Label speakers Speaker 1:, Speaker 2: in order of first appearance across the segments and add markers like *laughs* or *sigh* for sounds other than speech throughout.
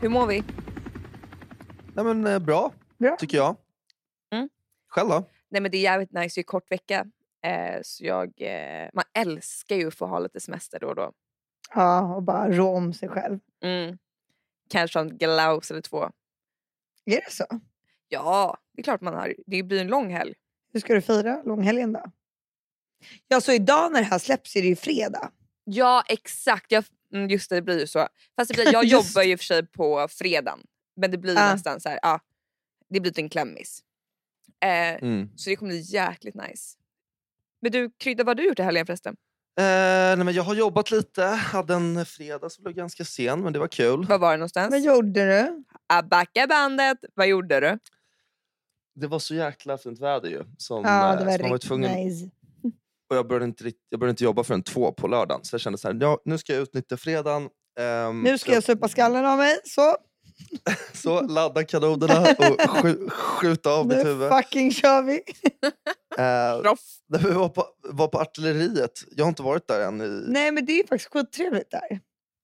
Speaker 1: Hur mår vi?
Speaker 2: Nej, men, eh, bra,
Speaker 3: Bra.
Speaker 2: tycker jag.
Speaker 1: Mm.
Speaker 2: Själv då?
Speaker 1: Nej men det är jävligt nice, det är kort vecka. Eh, så jag, eh, man älskar ju att få ha lite semester då och då.
Speaker 3: Ja, och bara rå om sig själv.
Speaker 1: Mm. Kanske en glaus eller två.
Speaker 3: Är det så?
Speaker 1: Ja, det är klart man har. Det blir en lång helg.
Speaker 3: Hur ska du fira långhelgen då? Ja, så idag när det här släpps är det ju fredag.
Speaker 1: Ja exakt, jag, mm, just det det blir ju så. Fast det *laughs* blir, jag
Speaker 3: Just.
Speaker 1: jobbar ju i och för sig på fredagen. Men det blir
Speaker 3: Ah.
Speaker 1: nästan så här, ja, det blir en klämmis. Eh,
Speaker 2: Mm.
Speaker 1: så det kommer bli jäkligt nice. Men du Krydda, vad har du gjort i helgen förresten?
Speaker 2: Eh, nej, men jag har jobbat lite. Hade en fredag som blev ganska sen, men det var kul.
Speaker 1: Var var du någonstans?
Speaker 3: Vad gjorde du?
Speaker 1: Ah, Backa bandet, vad gjorde du?
Speaker 2: Det var så jäkla fint väder ju. Som,
Speaker 3: Ja,
Speaker 2: eh,
Speaker 3: det
Speaker 2: som man
Speaker 3: var
Speaker 2: var
Speaker 3: riktigt
Speaker 2: tvungen,
Speaker 3: nice.
Speaker 2: och jag, började inte, rikt- jag började inte jobba förrän två på lördagen. Så jag kände så här, ja, nu ska jag utnyttja fredagen. ehm,
Speaker 3: Nu ska jag supa skallen av mig, så
Speaker 2: Så ladda kanonerna och sk- skjuta av mitt huvud.
Speaker 3: nu fucking kör vi.
Speaker 2: Eh,
Speaker 1: Proff.
Speaker 2: Nej, men vi var på, var på artilleriet. Jag har inte varit där än. I...
Speaker 3: Nej, men det är faktiskt skittrevligt där.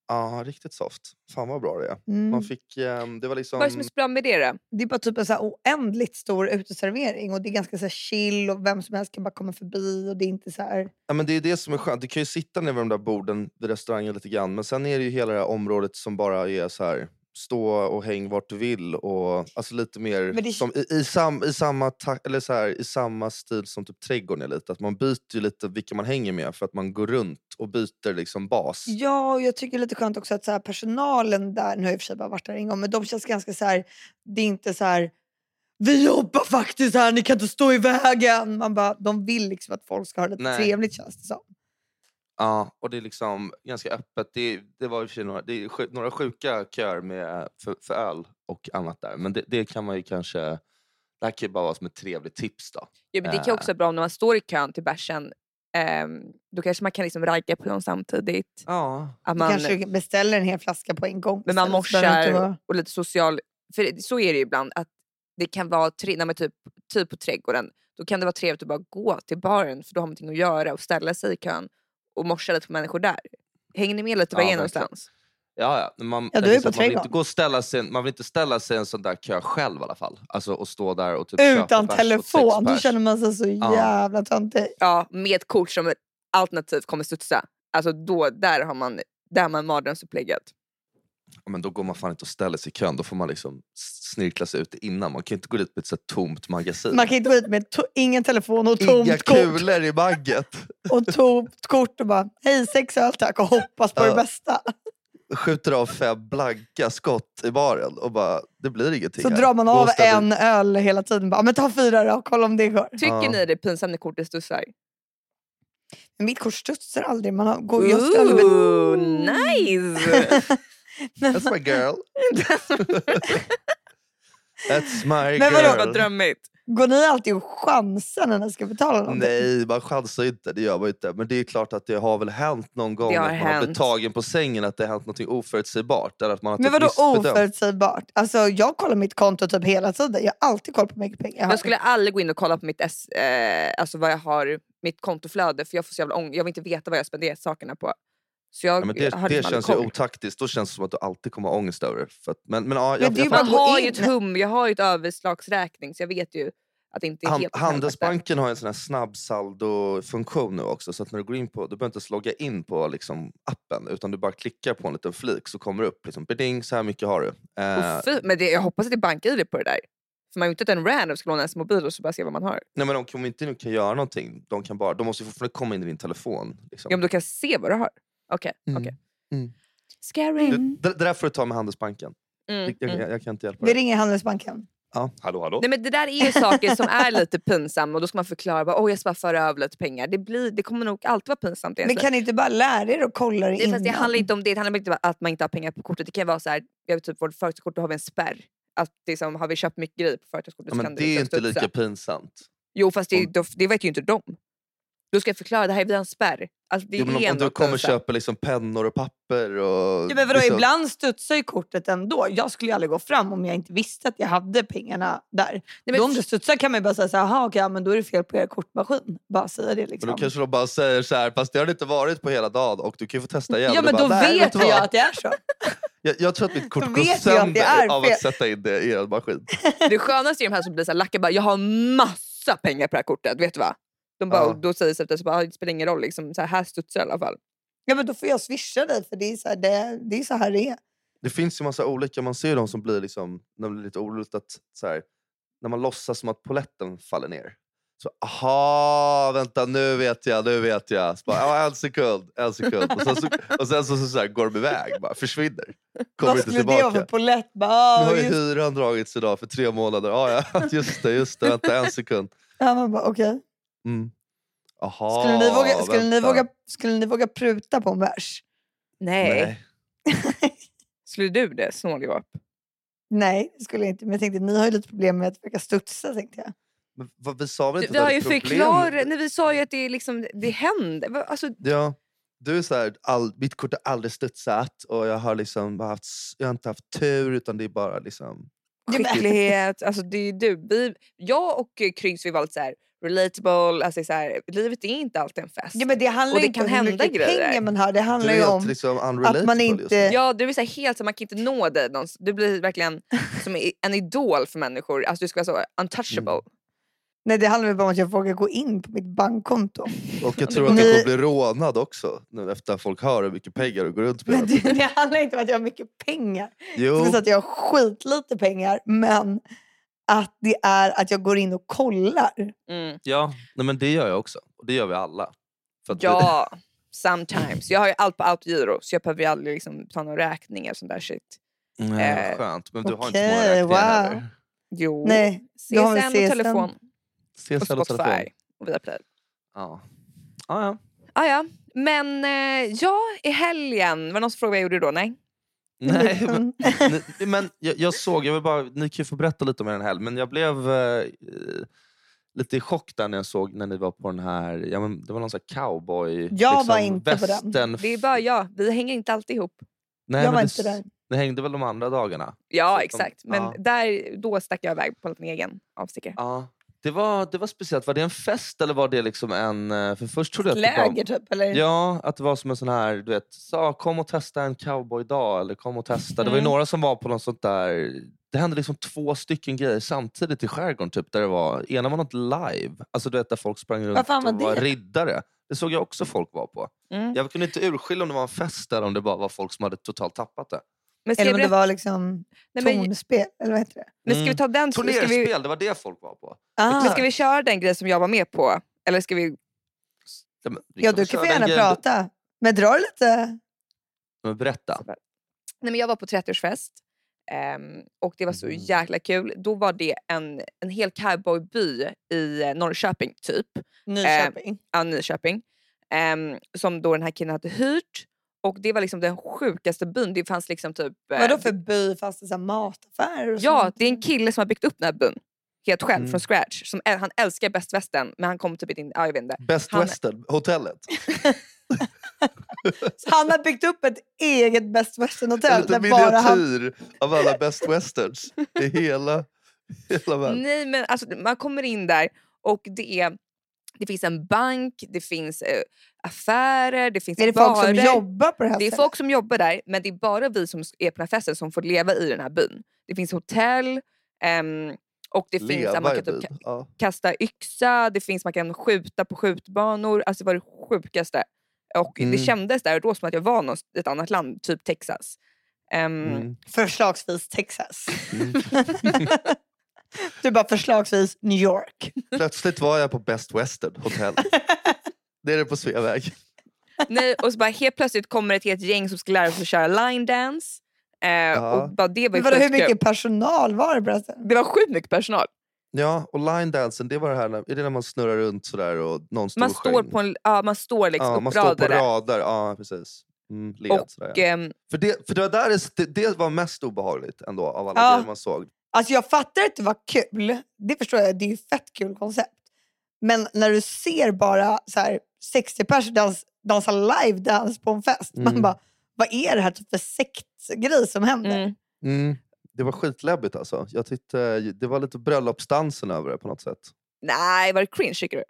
Speaker 2: Ja, riktigt soft. Fan vad bra det är.
Speaker 3: Mm.
Speaker 2: Man fick, ehm, det var liksom...
Speaker 1: Vad är det som är så bra med det då?
Speaker 3: Det är bara typ en så här oändligt stor uteservering och det är ganska så här chill och vem som helst kan bara komma förbi och det är inte så här...
Speaker 2: ja, men det är det som är skönt. Du kan ju sitta ner vid de där borden vid restaurangen lite grann. Men sen är det ju hela det här området som bara är så här... Stå och häng vart du vill. Och, alltså lite mer
Speaker 3: Men det-
Speaker 2: som, i, i, sam, i, samma ta, eller så här, i samma stil som typ trädgården är lite. Att man byter ju lite vilka man hänger med för att man går runt och byter liksom bas.
Speaker 3: Ja, och jag tycker det är lite skönt också att så här, personalen där, nu har jag i och för sig bara varit där en gång, men de känns ganska så här, det är inte så här, vi jobbar faktiskt här, ni kan inte stå i vägen. Man bara, de vill liksom att folk ska ha det lite
Speaker 2: Nej.
Speaker 3: trevligt känns det som.
Speaker 2: Ja, och det är liksom ganska öppet. Det, det var i och för sig några, det är sju- några sjuka köer med, för, för öl och annat där. Men det, det kan man ju kanske... Det här kan ju bara vara som ett trevligt tips då.
Speaker 1: Ja, men det kan ju
Speaker 2: Eh.
Speaker 1: också vara bra om när man står i kön till bärsen. ehm, då kanske man kan liksom ragga på dem samtidigt.
Speaker 2: Ja.
Speaker 1: Att man,
Speaker 3: Man, kanske beställer en hel flaska på en gång.
Speaker 1: men man
Speaker 3: istället, så behöver det inte
Speaker 1: morsar
Speaker 3: vara-
Speaker 1: och lite social... För det- så är det ju ibland. att Det kan vara tre, när man typ, typ på trädgården. Då kan det vara trevligt att bara gå till baren för då har man någonting att göra och ställa sig i kön och morsa lite på människor där. Hänger ni med lite vad
Speaker 2: Ja,
Speaker 1: det är
Speaker 2: verkligen.
Speaker 1: någonstans?
Speaker 2: Ja, ja. men Man,
Speaker 3: Ja,
Speaker 2: jag
Speaker 3: du är
Speaker 2: vill säga
Speaker 3: på
Speaker 2: att man, vill inte
Speaker 3: trädgården.
Speaker 2: gå och ställa sig, en- man vill inte ställa sig i en sån där kö själv i alla fall. Alltså och stå där och typ köpa
Speaker 3: Utan
Speaker 2: bärs och
Speaker 3: telefon, då
Speaker 2: sexpers.
Speaker 3: känner man sig så jävla töntig.
Speaker 1: Ja, med ett kort som alternativt kommer studsa. Alltså då, där har man, där har man mardrömsupplägget.
Speaker 2: Ja, men då går man fan inte och ställer sig i kön. Då får man liksom snirkla sig ut innan. Man kan ju inte gå dit med ett så här tomt magasin.
Speaker 3: Man kan inte gå hit med to- ingen telefon och tomt
Speaker 2: Inga
Speaker 3: kort.
Speaker 2: kulor i bagget.
Speaker 3: Och tomt kort och bara, hej sex öl tack och hoppas på det
Speaker 2: Ja.
Speaker 3: bästa.
Speaker 2: skjuter av fem blanka skott i baren och bara, det blir ingenting
Speaker 3: Så
Speaker 2: här.
Speaker 3: drar man
Speaker 2: Gå och
Speaker 3: av
Speaker 2: ställ
Speaker 3: en öl hela tiden. Bara, men ta fyra då, kolla om det går.
Speaker 1: Tycker
Speaker 2: Ja.
Speaker 1: ni det är pinsamt när kortet studsar?
Speaker 3: Men mitt kort studsar aldrig. Man har, går, jag ställer mig,
Speaker 1: Ooh,
Speaker 2: Mm. *laughs*
Speaker 1: nice!
Speaker 2: ut- That's my girl. That's my
Speaker 1: Men vadå,
Speaker 2: girl.
Speaker 1: vad drömmigt?
Speaker 3: *laughs* går ni alltid och chansar när ni ska
Speaker 1: *laughs*
Speaker 3: betala någonting?
Speaker 2: Nej, man chansar ju inte. Det gör man ju inte. Men det är ju klart att det har väl hänt någon gång
Speaker 1: Det har
Speaker 2: att man har
Speaker 1: hänt.
Speaker 2: blivit tagen på sängen, att det har hänt något oförutsägbart. Eller att man har
Speaker 3: Men
Speaker 2: typ
Speaker 3: vadå
Speaker 2: missbedömt.
Speaker 3: oförutsägbart? Alltså, jag kollar mitt konto typ hela tiden. Jag har alltid koll på hur mycket pengar jag har.
Speaker 1: Jag skulle aldrig gå in och kolla på mitt, S, eh, alltså vad jag har, mitt kontoflöde för jag får så jävla ång- Jag vill inte veta vad jag spenderar sakerna på. Så jag
Speaker 2: Ja, men det
Speaker 1: har
Speaker 2: det
Speaker 1: liksom aldrig
Speaker 2: känns ju
Speaker 1: koll.
Speaker 2: otaktiskt. Då känns det som att du alltid kommer ha ångest över det. För att, men, men, ja, jag,
Speaker 3: det
Speaker 2: jag,
Speaker 3: är ju
Speaker 1: Man
Speaker 3: bara- gå
Speaker 1: har ju
Speaker 3: in.
Speaker 1: ett hum, jag har ju ett överslagsräkning så jag vet ju att det inte är
Speaker 2: Han,
Speaker 1: helt
Speaker 2: Handelsbanken har ju en sån här snabbsaldofunktion nu också. Så att när du går in på, du behöver inte ens logga in på liksom appen utan du bara klickar på en liten flik så kommer det upp liksom, beding, så här mycket har du. Eh,
Speaker 1: Oh, fy, men det, jag hoppas att det är bank-id på det där. För man är ju inte att en random ska låna ens mobil och så bara se vad man har.
Speaker 2: nej men de kommer inte nu kan göra någonting. De, kan bara, de måste ju fortfarande komma in i din telefon. Liksom.
Speaker 1: Ja, men du kan se vad du har. Okej,
Speaker 2: Mm,
Speaker 1: okej.
Speaker 2: mm.
Speaker 1: Scary.
Speaker 2: Du,
Speaker 3: Mm.
Speaker 2: det, det där får du ta med Handelsbanken.
Speaker 1: Mm,
Speaker 2: Jag,
Speaker 1: mm.
Speaker 2: jag, jag kan inte hjälpa
Speaker 3: Vi
Speaker 2: dig.
Speaker 3: ringer Handelsbanken.
Speaker 2: Ja. Hallå hallå?
Speaker 1: Nej, men det där är ju saker som är lite pinsamma och då ska man förklara bara, oh, jag ska bara föra över lite pengar. Det, blir, det kommer nog alltid vara pinsamt
Speaker 3: Men
Speaker 1: egentligen.
Speaker 3: kan ni inte bara lära er och kolla det
Speaker 1: det, fast det
Speaker 3: innan?
Speaker 1: handlar inte om det, det handlar inte om att man inte har pengar på kortet. Det kan vara så här, jag vet, typ vårt företagskort då har vi en spärr. Att liksom, har vi köpt mycket grejer på företagskortet
Speaker 2: ja,
Speaker 1: så
Speaker 2: men
Speaker 1: kan
Speaker 2: det är
Speaker 1: liksom
Speaker 2: inte
Speaker 1: studsa.
Speaker 2: lika pinsamt.
Speaker 1: Jo fast det,
Speaker 2: om-
Speaker 1: då, det vet ju inte de. Då ska jag förklara, det här är via en spärr. Alltså, det
Speaker 2: Jo, men
Speaker 1: är
Speaker 2: om, om du
Speaker 1: något
Speaker 2: kommer
Speaker 1: pinsamt.
Speaker 2: köpa liksom pennor och papper och...
Speaker 3: Ja, men vadå,
Speaker 2: liksom-
Speaker 3: ibland studsar ju kortet ändå. Jag skulle ju aldrig gå fram om jag inte visste att jag hade pengarna där.
Speaker 1: Nej,
Speaker 3: Då
Speaker 1: men,
Speaker 3: om det studsar kan man ju bara säga så här, "Aha, okej, ja, men då är det fel på er kortmaskin. Bara säga det
Speaker 2: Men
Speaker 3: liksom.
Speaker 2: då kanske de bara säger så här, fast det har det inte varit på hela dagen och du kan ju få testa igen.
Speaker 3: ja
Speaker 2: Och du
Speaker 3: men
Speaker 2: bara,
Speaker 3: då
Speaker 2: "Nej,
Speaker 3: vet
Speaker 2: du vad?
Speaker 3: jag att det är så.
Speaker 2: Jag, jag tror att mitt kort
Speaker 3: Då
Speaker 2: går
Speaker 3: vet jag att det
Speaker 2: sönder
Speaker 3: är
Speaker 2: av
Speaker 3: fel.
Speaker 2: att sätta in det i er maskin.
Speaker 1: Det skönaste är de här som blir så här lacka bara, jag har massa pengar på det här kortet, vet du vad? De bara,
Speaker 2: Ja.
Speaker 1: och då säger Sebbe så bara, "Ah, det spelar ingen roll, liksom, så här, här studsar jag i alla fall.
Speaker 3: Ja, men då får jag swisha dig för det är så här det, det, är så här det är.
Speaker 2: Det finns ju massa olika. Man ser ju de som blir, liksom, när man blir lite orolig. Att, så här, när man låtsas som att poletten faller ner. Så aha, vänta nu vet jag, nu vet jag. Så bara, ja, en sekund, en sekund. Och sen så, och sen så, så, så här, går de iväg, bara försvinner. Kommer
Speaker 3: Vad
Speaker 2: inte
Speaker 3: skulle det vara
Speaker 2: tillbaka.
Speaker 3: för polett? Bara,
Speaker 2: Nu
Speaker 3: ah,
Speaker 2: har ju
Speaker 3: just,
Speaker 2: hyran dragits idag för tre månader. Ja, ja, *laughs* just det, just det. Vänta en sekund.
Speaker 3: ja, man bara, okej.
Speaker 2: Mm. Aha,
Speaker 3: skulle, ni våga, skulle, ni
Speaker 2: vänta.
Speaker 3: våga, skulle ni våga pruta på en bärs?
Speaker 1: Nej.
Speaker 2: Nej.
Speaker 1: Skulle du det, snåljåp?
Speaker 3: Nej, det skulle jag inte. Men jag tänkte, ni har ju lite problem med att försöka studsa. Tänkte jag.
Speaker 2: Men vad, vi sa väl
Speaker 1: Du-
Speaker 2: inte
Speaker 1: Vi
Speaker 2: att
Speaker 1: har
Speaker 2: det är
Speaker 1: ju
Speaker 2: problem?
Speaker 1: förklarat, nej, vi sa ju att det, är liksom, det händer. Va- Alltså,
Speaker 2: Ja. Du är så här, all, mitt kort har aldrig studsat och jag har, liksom bara haft, s- jag har inte haft tur utan det är bara liksom...
Speaker 3: Ja, men-
Speaker 1: skicklighet, alltså det är du. Vi, jag och eh, Kryggs vi var lite så här relatable, alltså så här, livet är inte alltid en fest.
Speaker 3: Ja, men det handlar
Speaker 1: Och det
Speaker 3: inte
Speaker 1: kan
Speaker 3: om hur
Speaker 1: hända
Speaker 3: mycket
Speaker 1: grejer.
Speaker 3: pengar man har. Det
Speaker 2: Du
Speaker 3: handlar
Speaker 2: är
Speaker 3: ju
Speaker 2: helt
Speaker 3: om...
Speaker 2: liksom unrelatable just
Speaker 3: inte-
Speaker 2: nu.
Speaker 1: Ja, du är så här helt så man kan inte nå dig någonstans. Du blir verkligen som i- en idol för människor. Alltså du ska vara så untouchable.
Speaker 2: Mm.
Speaker 3: Nej, det handlar väl bara om att jag vågar gå in på mitt bankkonto.
Speaker 2: Och jag tror att jag
Speaker 3: Ni-
Speaker 2: kommer bli rånad också nu efter att folk hör hur mycket pengar du går runt
Speaker 3: Men
Speaker 2: med.
Speaker 3: det, det handlar inte om att jag har mycket pengar. Det är
Speaker 2: Jo,
Speaker 3: *laughs* så att jag har skitlite pengar, men att det är att jag går in och kollar.
Speaker 1: Mm.
Speaker 2: ja. Nej, men det gör jag också. Och det gör vi alla. För att vi-
Speaker 1: Ja, sometimes. Jag har ju allt på autogiro så jag behöver ju aldrig liksom ta någon räkning eller sånt där shit. *laughs*
Speaker 2: Nej,
Speaker 1: eh,
Speaker 2: skönt, men du har inte så
Speaker 3: okej,
Speaker 2: många räkningar
Speaker 3: wow.
Speaker 2: heller.
Speaker 1: Jo,
Speaker 3: Nej,
Speaker 1: CSN
Speaker 3: du har väl
Speaker 1: och
Speaker 3: CSN?
Speaker 1: telefon och
Speaker 2: Ses alla telefon.
Speaker 1: Spotify och Viaplay.
Speaker 2: Ja. Ja,
Speaker 3: *laughs*
Speaker 2: ja.
Speaker 1: Ah, ja. Men eh, ja, i helgen, var det någon som frågade vad jag gjorde då? Nej.
Speaker 2: Nej, men-
Speaker 3: *laughs*
Speaker 2: Ni- men jag, jag såg, jag vill bara, ni kan ju få berätta lite om er helg, men jag blev eh, lite i chock där när jag såg när ni var på den här, ja, men det var någon sån här cowboy... liksom,
Speaker 3: Jag var inte på den.
Speaker 2: västern-
Speaker 1: Det är bara jag, vi hänger inte alltid ihop.
Speaker 2: Nej,
Speaker 3: jag
Speaker 2: men
Speaker 3: var
Speaker 2: det-
Speaker 3: inte där.
Speaker 2: Ni hängde väl de andra dagarna?
Speaker 1: Ja,
Speaker 2: Så-
Speaker 1: exakt. Men
Speaker 2: ja.
Speaker 1: där, då stack jag iväg på en liten egen avstickare.
Speaker 2: Ja. Det var, det var speciellt. Var det en fest eller var det liksom en... eh, För först trodde jag att det var,
Speaker 3: Läger typ, eller?
Speaker 2: Ja, att det var som en sån här, du vet, sa, kom och testa en cowboydag eller kom och testa. Det var ju
Speaker 1: Mm.
Speaker 2: några som var på något sånt där, det hände liksom två stycken grejer samtidigt i skärgården. Typ, där det var, ena var något live, alltså du vet där folk sprang runt
Speaker 3: fan var
Speaker 2: och var
Speaker 3: det?
Speaker 2: riddare. Det såg jag också folk var på.
Speaker 1: Mm.
Speaker 2: Jag kunde inte urskilja om det var en fest eller om det bara var folk som hade totalt tappat det.
Speaker 1: Men, ska
Speaker 3: Eller
Speaker 1: jag
Speaker 3: om det
Speaker 1: berätta,
Speaker 3: var liksom
Speaker 1: nej, men,
Speaker 3: tonspel, eller vad heter det?
Speaker 1: men ska vi
Speaker 2: Mm.
Speaker 1: ta den? Ska vi,
Speaker 2: Turnerspel, det var det folk var på.
Speaker 1: men
Speaker 3: Ah.
Speaker 1: ska vi köra den grej som jag var med på? Eller ska vi...
Speaker 2: Ja, men, liksom, vi
Speaker 3: Ja,
Speaker 2: kan väl
Speaker 3: du kan
Speaker 2: köra
Speaker 3: få
Speaker 2: den
Speaker 3: gärna
Speaker 2: grejen du-
Speaker 3: prata. Men dra det lite.
Speaker 2: Men berätta.
Speaker 1: Nej, men jag var på 30-årsfest ehm, och det var så
Speaker 3: Mm.
Speaker 2: Mhm.
Speaker 1: jäkla kul. Då var det en, en hel cowboyby i eh, Norrköping, typ.
Speaker 3: Nyköping.
Speaker 1: ja, Nyköping. ehm, som då den här killen hade hyrt. Och det var liksom den sjukaste byn. Det fanns liksom typ... eh,
Speaker 3: Vadå för by fast det är så här mataffärer och
Speaker 1: Ja,
Speaker 3: sånt?
Speaker 1: det är en kille som har byggt upp den här byn. Helt själv,
Speaker 2: Mm.
Speaker 1: från scratch. Som, äl- han älskar bäst västern, men han kom typ inte in... Ja, jag vet inte.
Speaker 2: Best
Speaker 1: Han-
Speaker 2: Western, hotellet.
Speaker 3: Så han har byggt upp ett eget Best Western
Speaker 2: En
Speaker 3: Hotel. Där
Speaker 2: liten
Speaker 3: bara han...
Speaker 2: miniatyr av alla Best Westerns i hela, hela världen.
Speaker 1: Nej, men alltså, man kommer in där och det är... Det finns en bank, det finns eh, affärer, det finns
Speaker 3: Är det folk
Speaker 1: barer.
Speaker 3: som jobbar på det här
Speaker 1: Det är
Speaker 3: stället?
Speaker 1: folk som jobbar där, men det är bara vi som är på den här festen som får leva i den här byn. Det finns hotell ehm, och det finns att man
Speaker 2: Leva
Speaker 1: kan
Speaker 2: i
Speaker 1: typ
Speaker 2: byn.
Speaker 1: ka-
Speaker 2: Ja.
Speaker 1: kasta yxa, det finns man kan skjuta på skjutbanor. Alltså det var det sjukaste. Och det
Speaker 2: Mm.
Speaker 1: kändes där och då som att jag var någonstans, i ett annat land, typ Texas. Ehm,
Speaker 2: Mm. *laughs*
Speaker 3: Förslagsvis Texas.
Speaker 2: Mm.
Speaker 3: *laughs* Du bara förslagsvis New York.
Speaker 2: Plötsligt var jag på Best Western
Speaker 3: *laughs*
Speaker 2: Hotel. Nere på Sveaväg.
Speaker 1: Nej, och så bara helt plötsligt kommer ett helt gäng som ska lära sig att köra line dance. Eh,
Speaker 2: Ja.
Speaker 1: och bara det var ju
Speaker 3: Men vadå, hur
Speaker 1: skitkul.
Speaker 3: mycket personal var det förresten?
Speaker 1: Det var sjukt mycket personal.
Speaker 2: Ja, och line dansen, det var det här när, är det när man snurrar runt sådär och någon står
Speaker 1: Man
Speaker 2: och
Speaker 1: står,
Speaker 2: sjöng?
Speaker 1: på en, ja, man står liksom
Speaker 2: ja, man står på
Speaker 1: uppradade.
Speaker 2: rader. Ja, precis. Mm, led,
Speaker 1: Och,
Speaker 2: sådär,
Speaker 1: Och,
Speaker 2: ja.
Speaker 1: ehm,
Speaker 2: för, det, för det var där det, det, det var mest obehagligt ändå av alla
Speaker 3: Ja.
Speaker 2: grejer man såg.
Speaker 3: Alltså jag fattar att det var kul. Det förstår jag, det är ju fett kul koncept. Men när du ser bara så här, 60 pers dans, dansa live dance på en fest. Man
Speaker 2: Mm.
Speaker 3: bara, vad är det här typ för sektgrej som händer?
Speaker 1: mm.
Speaker 2: Mm. Det var skitläbbigt alltså. Jag tyckte, det var lite bröllopsdansen över det på något sätt.
Speaker 1: Nej, var det cringe tycker du?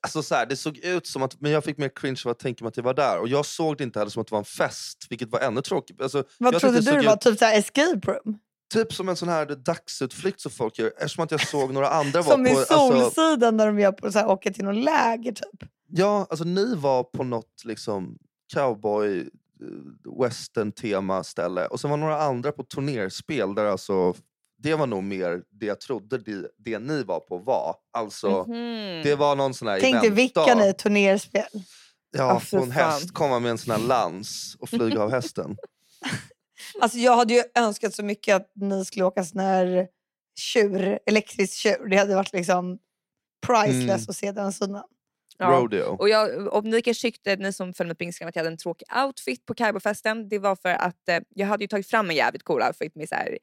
Speaker 2: Alltså så här, det såg ut som att, men jag fick mer cringe av att tänka mig att jag var där. Och jag såg det inte heller som att det var en fest, vilket var ännu tråkigt. Alltså,
Speaker 3: Vad
Speaker 2: jag
Speaker 3: trodde
Speaker 2: tyckte
Speaker 3: du
Speaker 2: det
Speaker 3: det
Speaker 2: såg
Speaker 3: var?
Speaker 2: ut-
Speaker 3: Typ så här escape room?
Speaker 2: Typ som en sån här dagsutflykt som folk gör. Eftersom att jag såg några
Speaker 3: *laughs*
Speaker 2: andra var
Speaker 3: Som
Speaker 2: på...
Speaker 3: i
Speaker 2: alltså,
Speaker 3: Solsidan när de gör på, så här, åker till någon läger typ.
Speaker 2: ja, alltså ni var på något liksom cowboy eh, western tema ställe. Och sen var några andra på turnerspel där alltså... Det var nog mer det jag trodde det, det ni var på var. Alltså,
Speaker 1: Mhm.
Speaker 2: det var någon sån här
Speaker 3: Tänk dig vilka
Speaker 2: eventdag.
Speaker 3: ni turnerspel.
Speaker 2: Ja,
Speaker 1: Ja, för
Speaker 2: på en
Speaker 1: fan.
Speaker 2: häst komma med en sån här lans och flyga av hästen.
Speaker 3: Alltså jag hade ju önskat så mycket att ni skulle åka sån här tjur, elektrisk tjur. Det hade varit liksom priceless
Speaker 2: Mm.
Speaker 3: att se den synen.
Speaker 1: Ja.
Speaker 2: Rodeo.
Speaker 1: Och jag, om ni kanske tyckte, ni som följde mig på Instagram, att jag hade en tråkig outfit på Kaibofesten. Det var för att eh, jag hade ju tagit fram en jävligt cool outfit med så här,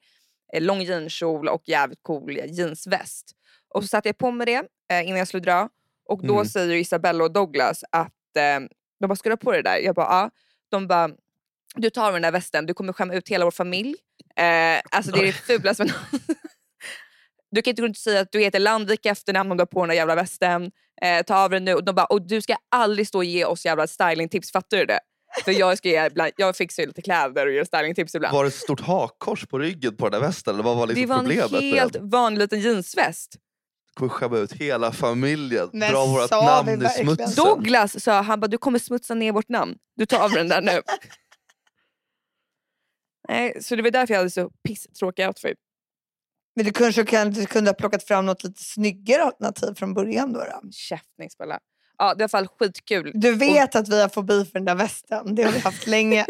Speaker 1: eh, lång jeanskjol och jävligt cool jeansväst. Och så satte jag på mig det eh, innan jag skulle dra. Och då
Speaker 2: Mm.
Speaker 1: säger Isabella och Douglas att eh, de bara, ska du ha på det där? Jag bara, ja. De bara, du tar den där västen, du kommer skämma ut hela vår familj. Eh, alltså det är det fulaste med Du kan inte gå runt och säga att du heter Landvik i efternamn om du har på den där jävla västen. Eh, ta av den nu. Och de bara, och du ska aldrig stå och ge oss jävla stylingtips, fattar du det? För jag, ska ge, ibland, jag fixar ju lite kläder och gör stylingtips ibland.
Speaker 2: Var det ett stort hakkors på ryggen på den där västen? Eller vad var liksom
Speaker 1: det var
Speaker 2: problemet?
Speaker 1: en
Speaker 2: med den?
Speaker 1: helt vanlig liten jeansväst.
Speaker 2: kommer skämma ut hela familjen.
Speaker 3: Men
Speaker 2: dra vårt
Speaker 3: sa vi
Speaker 2: namn i
Speaker 3: verkligen
Speaker 2: smutsen.
Speaker 3: Sen-
Speaker 1: Douglas sa, han bara, du kommer smutsa ner vårt namn. Du tar av den där *laughs* nu. Nej, så det var därför jag hade så pisstråkig outfit.
Speaker 3: Men du kanske kan, du kunde ha plockat fram något lite snyggare alternativ från början då. då.
Speaker 1: Käften, Isabella. Ja, det var i alla fall skitkul.
Speaker 3: Du vet att vi har fobi för den där västen. Det har vi haft länge.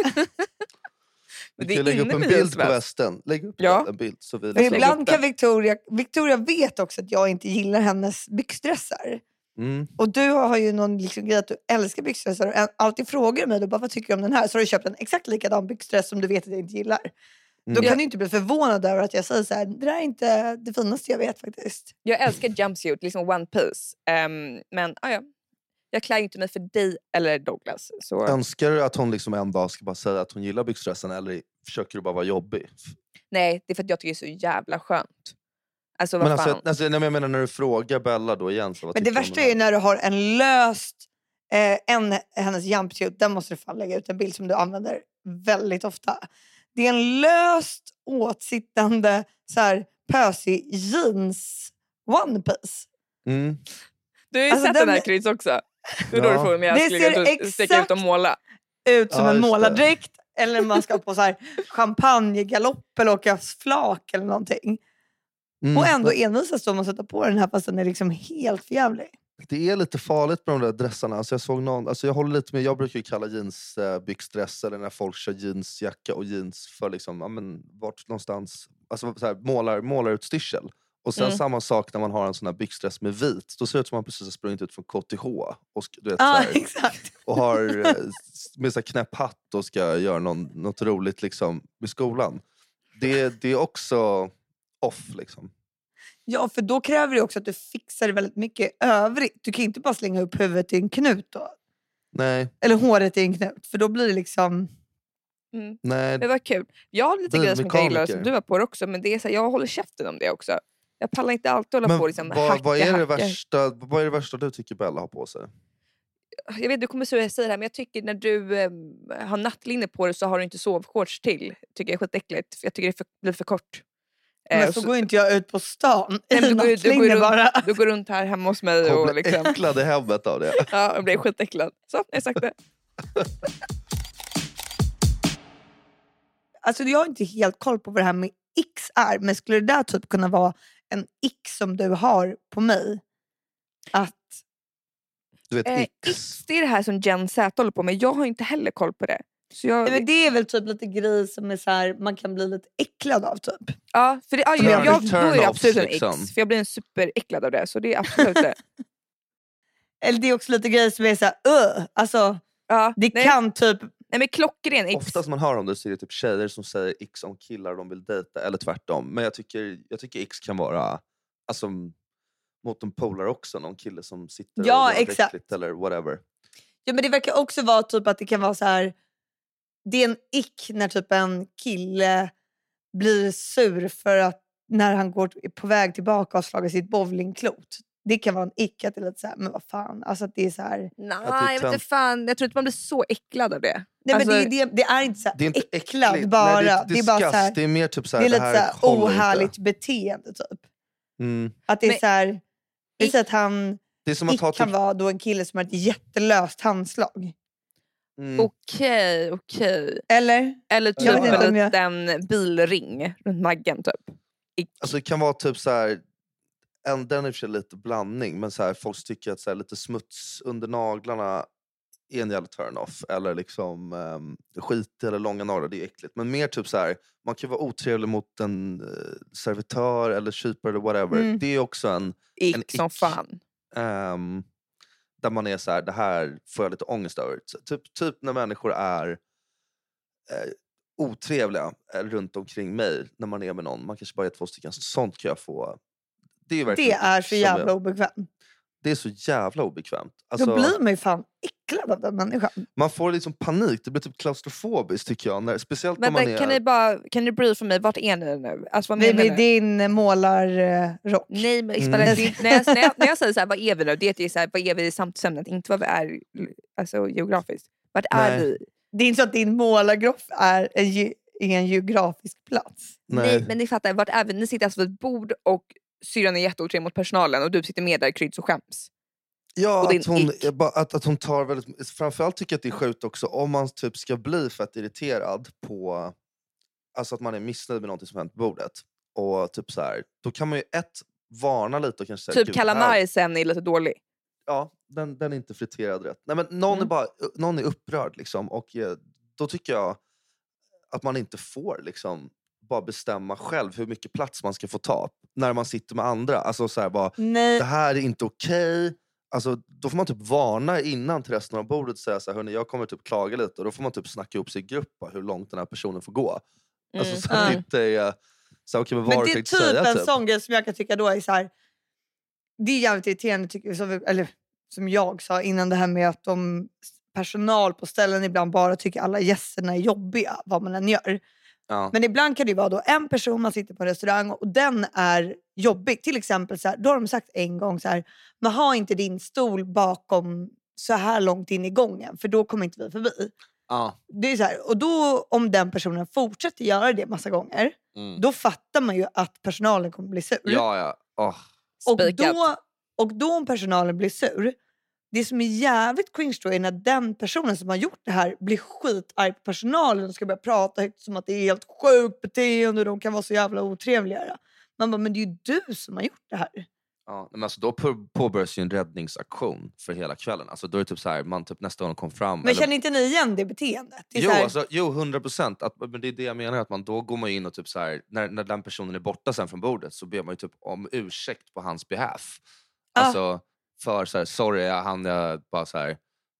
Speaker 1: Men
Speaker 2: Vi
Speaker 1: det
Speaker 2: kan
Speaker 1: är
Speaker 2: lägga upp
Speaker 1: inne
Speaker 2: en
Speaker 1: med
Speaker 2: bild på
Speaker 1: jeansväst.
Speaker 2: västen. Lägg upp
Speaker 1: Ja.
Speaker 2: en bild. Så vi
Speaker 3: Men
Speaker 2: liksom...
Speaker 3: ibland kan Victoria... Victoria vet också att jag inte gillar hennes byxdressar.
Speaker 2: mm.
Speaker 3: Och du har ju någon liksom grej att du älskar byxdressar. Och alltid frågar du mig då, bara, vad tycker du om den här? Så har du köpt en exakt likadan byxdress som du vet att jag inte gillar. Då
Speaker 2: Mm.
Speaker 3: kan du inte bli förvånad över att jag säger så här, det där är inte det finaste jag vet faktiskt.
Speaker 1: Jag älskar jumpsuit, liksom one piece. Ehm, men ah, ja, jag klär ju inte mig för dig eller Douglas. Så.
Speaker 2: Önskar du att hon liksom en dag ska bara säga att hon gillar byxdressen eller försöker du bara vara jobbig?
Speaker 1: Nej, det är för att jag tycker det är så jävla skönt. Alltså vad
Speaker 2: Men
Speaker 1: fan.
Speaker 2: alltså, alltså, nej, men jag menar när du frågar Bella då igen. Så, vad
Speaker 3: Men det
Speaker 2: tycker du om
Speaker 3: värsta
Speaker 2: den
Speaker 3: är
Speaker 2: här?
Speaker 3: ju när du har en löst, eh, en, hennes jumpsuit, den måste du fan lägga ut en bild som du använder väldigt ofta. Det är en löst åtsittande så här, pösig jeans one piece.
Speaker 2: Mm.
Speaker 1: Du har ju
Speaker 3: alltså,
Speaker 1: sett
Speaker 3: den-
Speaker 1: den här Kryds också. Det är då
Speaker 2: Ja.
Speaker 1: du får mig
Speaker 3: Det
Speaker 1: att
Speaker 3: ser
Speaker 1: skulle ut och sticka ut
Speaker 3: exakt-
Speaker 1: och måla.
Speaker 3: Ut som
Speaker 2: Ja,
Speaker 3: en
Speaker 2: just det.
Speaker 3: målardräkt eller man ska på så här, champagnegalopp eller åka flak eller någonting.
Speaker 2: Mm.
Speaker 3: Och ändå envisas de att sätta på den här fast den är liksom helt förjävlig.
Speaker 2: Det är lite farligt med de där dressarna. Alltså jag, såg någon, alltså jag, håller lite med, jag brukar ju kalla jeans eh, byxdress eller när folk kör jeansjacka och jeans för liksom, ja, men, vart någonstans, alltså så här, målar, målarutstyrsel. Och sen
Speaker 1: Mm.
Speaker 2: samma sak när man har en sån här byxdress med vit. Då ser det ut som att man precis har sprungit ut från KTH och, sk- du vet, så
Speaker 3: Ja,
Speaker 2: här,
Speaker 3: exakt.
Speaker 2: och har eh, s- med så här knäpp hatt och ska göra någon, något roligt liksom, med skolan. Det, det är också off liksom.
Speaker 3: Ja, för då kräver det också att du fixar väldigt mycket i övrigt. Du kan inte bara slänga upp huvudet i en knut då.
Speaker 2: Nej,
Speaker 3: Eller håret i en knut, för då blir det liksom...
Speaker 1: Mm.
Speaker 2: nej.
Speaker 1: Det var kul. Jag har lite grejer som inte jag gillar som
Speaker 2: Bilmekaniker.
Speaker 1: du var på också. Men det är så här, jag håller käften om det också. Jag pallar inte alltid hålla
Speaker 2: Men
Speaker 1: på och liksom,
Speaker 2: vad, vad,
Speaker 1: hacka,
Speaker 2: är det
Speaker 1: hacka.
Speaker 2: värsta, vad är det värsta du tycker Bella har på sig?
Speaker 1: Jag vet du kommer säga det här men jag tycker när du eh, har nattlinne på dig så har du inte sovshorts till. tycker jag är skitäckligt. för Jag tycker det är för, blir för kort. Eh,
Speaker 3: Men
Speaker 1: och
Speaker 3: så
Speaker 1: så-
Speaker 3: går inte jag ut på stan
Speaker 1: Nej, men
Speaker 3: i
Speaker 1: du går ju- du går ju
Speaker 3: nattlinne
Speaker 1: runt-
Speaker 3: bara.
Speaker 1: Du går runt här hemma hos mig
Speaker 2: Hon
Speaker 1: och
Speaker 2: blir
Speaker 1: liksom...
Speaker 3: *laughs*
Speaker 2: äcklad i hemmet av det.
Speaker 1: Ja, jag blir skitäcklad. Så, jag sagt det.
Speaker 3: Alltså, jag har inte helt koll på vad det här med x är, men skulle det där typ kunna vara en x som du har på mig? Att,
Speaker 2: Du vet,
Speaker 1: Eh,
Speaker 2: X.
Speaker 1: X, det är det här som Gen Z håller på med. Jag har inte heller koll på det. Så jag,
Speaker 3: nej, men det är väl typ lite grejer som är så här, man kan bli lite äcklad av. typ.
Speaker 1: ja, för det, ja,
Speaker 2: Som
Speaker 1: jag,
Speaker 2: är
Speaker 1: jag, då är det
Speaker 2: turn-offs,
Speaker 1: absolut en
Speaker 2: liksom.
Speaker 1: X. För jag blir en superäcklad av det. Så det är absolut
Speaker 3: *laughs*
Speaker 1: det.
Speaker 3: Eller det är också lite grejer som är så här, "Ugh", alltså,
Speaker 1: Ja,
Speaker 3: det
Speaker 1: nej,
Speaker 3: kan typ...
Speaker 1: nej, men klockren X.
Speaker 2: Oftast man hör om det så är det typ tjejer som säger X om killar de vill dejta eller tvärtom. Men jag tycker, jag tycker X kan vara alltså, mot en polare också. Någon kille som sitter
Speaker 3: Ja,
Speaker 2: och gör något
Speaker 3: exakt.
Speaker 2: äckligt eller whatever.
Speaker 3: Ja, men det verkar också vara typ att det kan vara så här. Det är en ick när typ en kille blir sur för att när han går på väg tillbaka och har slagit sitt bowlingklot. det kan vara en icka till att säga, men vad fan. Alltså att det är så här,
Speaker 1: Nej,
Speaker 2: det är
Speaker 1: jag vet inte
Speaker 2: tönt.
Speaker 1: fan. Jag tror inte man blir så äcklad av det.
Speaker 3: nej,
Speaker 1: Alltså-
Speaker 3: men det, är- det, det är inte så här
Speaker 2: Det är inte
Speaker 3: äcklad
Speaker 2: äckligt.
Speaker 3: bara.
Speaker 2: Nej, det, är
Speaker 3: det är bara så
Speaker 2: disgust.
Speaker 3: här,
Speaker 2: Det är mer typ så här,
Speaker 3: det är lite
Speaker 2: här
Speaker 3: så här
Speaker 2: håller inte.
Speaker 3: ohärligt beteende typ.
Speaker 2: Mm.
Speaker 3: Att det är
Speaker 1: Men-
Speaker 3: så här, vi
Speaker 1: Ick-
Speaker 3: säger att han
Speaker 2: Det är som att
Speaker 3: ick
Speaker 2: ha
Speaker 3: kan
Speaker 2: typ...
Speaker 3: vara då en kille som har ett jättelöst handslag.
Speaker 2: Mm.
Speaker 1: Okej, okej.
Speaker 3: Eller?
Speaker 1: Eller typ
Speaker 2: Jag vet inte
Speaker 3: om
Speaker 1: en
Speaker 3: jag-
Speaker 1: liten bilring runt maggen typ.
Speaker 2: Alltså det kan vara typ så här... En, den är i och för sig lite blandning, men så här, folk tycker att så här, lite smuts under naglarna är en jävla turn-off. Eller liksom ehm, skit eller långa naglar, det är äckligt. Men mer typ så här, man kan vara otrevlig mot en eh, servitör eller kypare eller whatever.
Speaker 3: Mm.
Speaker 2: Det är också en...
Speaker 1: Ick
Speaker 2: En
Speaker 1: som
Speaker 2: ick.
Speaker 1: fan.
Speaker 2: ehm, där man är så här, det här får jag lite ångest över. Så Typ, typ när människor är eh, otrevliga eh, runt omkring mig när man är med någon. Man kanske bara är två stycken. Så sånt kan jag få. Det är,
Speaker 3: Det
Speaker 2: verkligen,
Speaker 3: är så
Speaker 2: som
Speaker 3: jävla
Speaker 2: jag-
Speaker 3: obekvämt.
Speaker 2: det är så jävla obekvämt.
Speaker 3: Då
Speaker 2: Alltså,
Speaker 3: blir man ju fan äcklad av den människan.
Speaker 2: Man får liksom panik. Det blir typ klaustrofobiskt tycker jag. När, speciellt när
Speaker 1: Men
Speaker 2: man
Speaker 1: men
Speaker 2: är...
Speaker 1: kan ni bara kan ni brief för mig, vart är ni nu? Alltså, vad
Speaker 3: Det
Speaker 1: menar ni?
Speaker 3: blir din eh, målarrock.
Speaker 1: Nej, men
Speaker 2: Mm.
Speaker 1: spelar inte- när, jag, när, jag, när jag säger så här, vad är vi nu? Det är så här, vad är vi i samtidsämnet? Inte vad vi är alltså, geografiskt. Vart är
Speaker 2: Nej.
Speaker 1: vi?
Speaker 3: Det är inte så att din målargroff är en, ge- är en geografisk plats.
Speaker 1: Nej.
Speaker 2: nej.
Speaker 1: men ni fattar, vart är vi? Ni sitter alltså vid ett bord och syrran är jätteotrevlig mot personalen och du sitter med där kryds och skäms.
Speaker 2: Ja,
Speaker 1: Och din
Speaker 2: att hon,
Speaker 1: ick.
Speaker 2: jag bara- att, att hon tar väldigt... Framförallt tycker jag att det är sjukt också om man typ ska bli fett irriterad på... Alltså att man är missnöjd med någonting som hänt på bordet. Och typ så här, då kan man ju ett, varna lite och kanske säga...
Speaker 1: typ
Speaker 2: "Gud, det här-
Speaker 1: calamari sen är lite dålig.
Speaker 2: Ja, den, den är inte friterad rätt. Nej, men någon, är
Speaker 1: Mm.
Speaker 2: bara, någon är upprörd liksom. Och eh, då tycker jag att man inte får liksom bara bestämma själv hur mycket plats man ska få ta när man sitter med andra. Alltså så här, bara,
Speaker 3: Nej,
Speaker 2: det här är inte okej. Alltså, då får man typ varna innan till resten av bordet och säga så här, "Hörni, jag kommer typ klaga lite. Och då får man typ snacka ihop sig i grupp bara, hur långt den här personen får gå.
Speaker 1: Mm.
Speaker 2: Alltså, så att det
Speaker 3: Ja.
Speaker 2: inte är... Så här, okej, men vad
Speaker 3: men
Speaker 2: har
Speaker 3: det
Speaker 2: du
Speaker 3: är
Speaker 2: tänkt
Speaker 3: typ
Speaker 2: säga?
Speaker 3: en
Speaker 2: Typ?
Speaker 3: sån grej som jag kan tycka då är så här. Det är jävligt irriterande, tycker, jag, som, vi- eller som jag sa innan det här med att de personal på ställen ibland bara tycker alla gästerna är jobbiga, vad man än gör.
Speaker 2: Ja.
Speaker 3: Men ibland kan det ju vara då en person man sitter på en restaurang och den är jobbig. Till exempel så här, då har de sagt en gång så här, man har inte din stol bakom så här långt in i gången för då kommer inte vi förbi.
Speaker 2: Ja.
Speaker 3: Det är så här, och då om den personen fortsätter göra det massa gånger,
Speaker 2: Mm.
Speaker 3: då fattar man ju att personalen kommer bli sur.
Speaker 2: ja, ja. Åh.
Speaker 3: och,
Speaker 1: Spikat.
Speaker 3: då, och då om personalen blir sur, det som är jävligt cringe då är när den personen som har gjort det här blir skitarg på personalen och ska börja prata högt som att det är helt sjukt beteende och de kan vara så jävla otrevliga. Man bara, men det är ju du som har gjort det här.
Speaker 2: Ja, nej, men alltså då på- påbörjas ju en räddningsaktion för hela kvällen. Alltså då är det typ så här, man typ nästa gång kom fram...
Speaker 3: Men känner inte ni igen det beteendet? Det är
Speaker 2: jo,
Speaker 3: så här,
Speaker 2: alltså, jo, 100 procent. Men det är det jag menar, att man då går man in och typ så här, när, när den personen är borta sen från bordet så ber man ju typ om ursäkt på hans behalf.
Speaker 3: Ah.
Speaker 2: Alltså för så här, sorry, jag hann jag bara så här,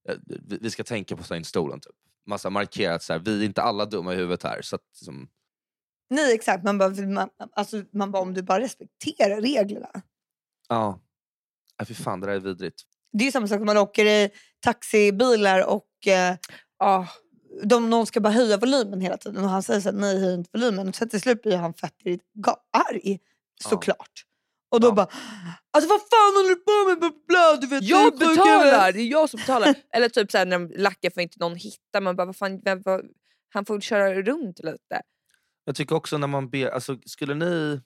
Speaker 2: eh, vi, vi ska tänka på att ta in stolen typ. Man så här markerar att så här, vi är inte alla dumma i huvudet här. Så att, liksom,
Speaker 3: Nej, exakt. Man bara, man, alltså, man bara, om du bara respekterar reglerna.
Speaker 2: ja. Nej, Äh, fy fan, det där är vidrigt.
Speaker 3: Det är ju samma sak när man åker i taxibilar och eh,
Speaker 1: Ah,
Speaker 3: de, någon ska bara höja volymen hela tiden och han säger så här, nej höj inte volymen. Och sen till slut blir han fett irrit- ga- arg såklart. Och då
Speaker 2: Ja.
Speaker 3: bara, alltså vad fan håller du på med? Bla, bla, du vet, du är
Speaker 1: jag
Speaker 3: sjuk i
Speaker 1: betalar!
Speaker 3: huvudet."
Speaker 1: Det är jag som betalar. Eller typ så här, när de lackar för inte någon hittar. Man bara, vad fan, vem, vad, han får köra runt lite.
Speaker 2: Jag tycker också när man ber, alltså skulle ni...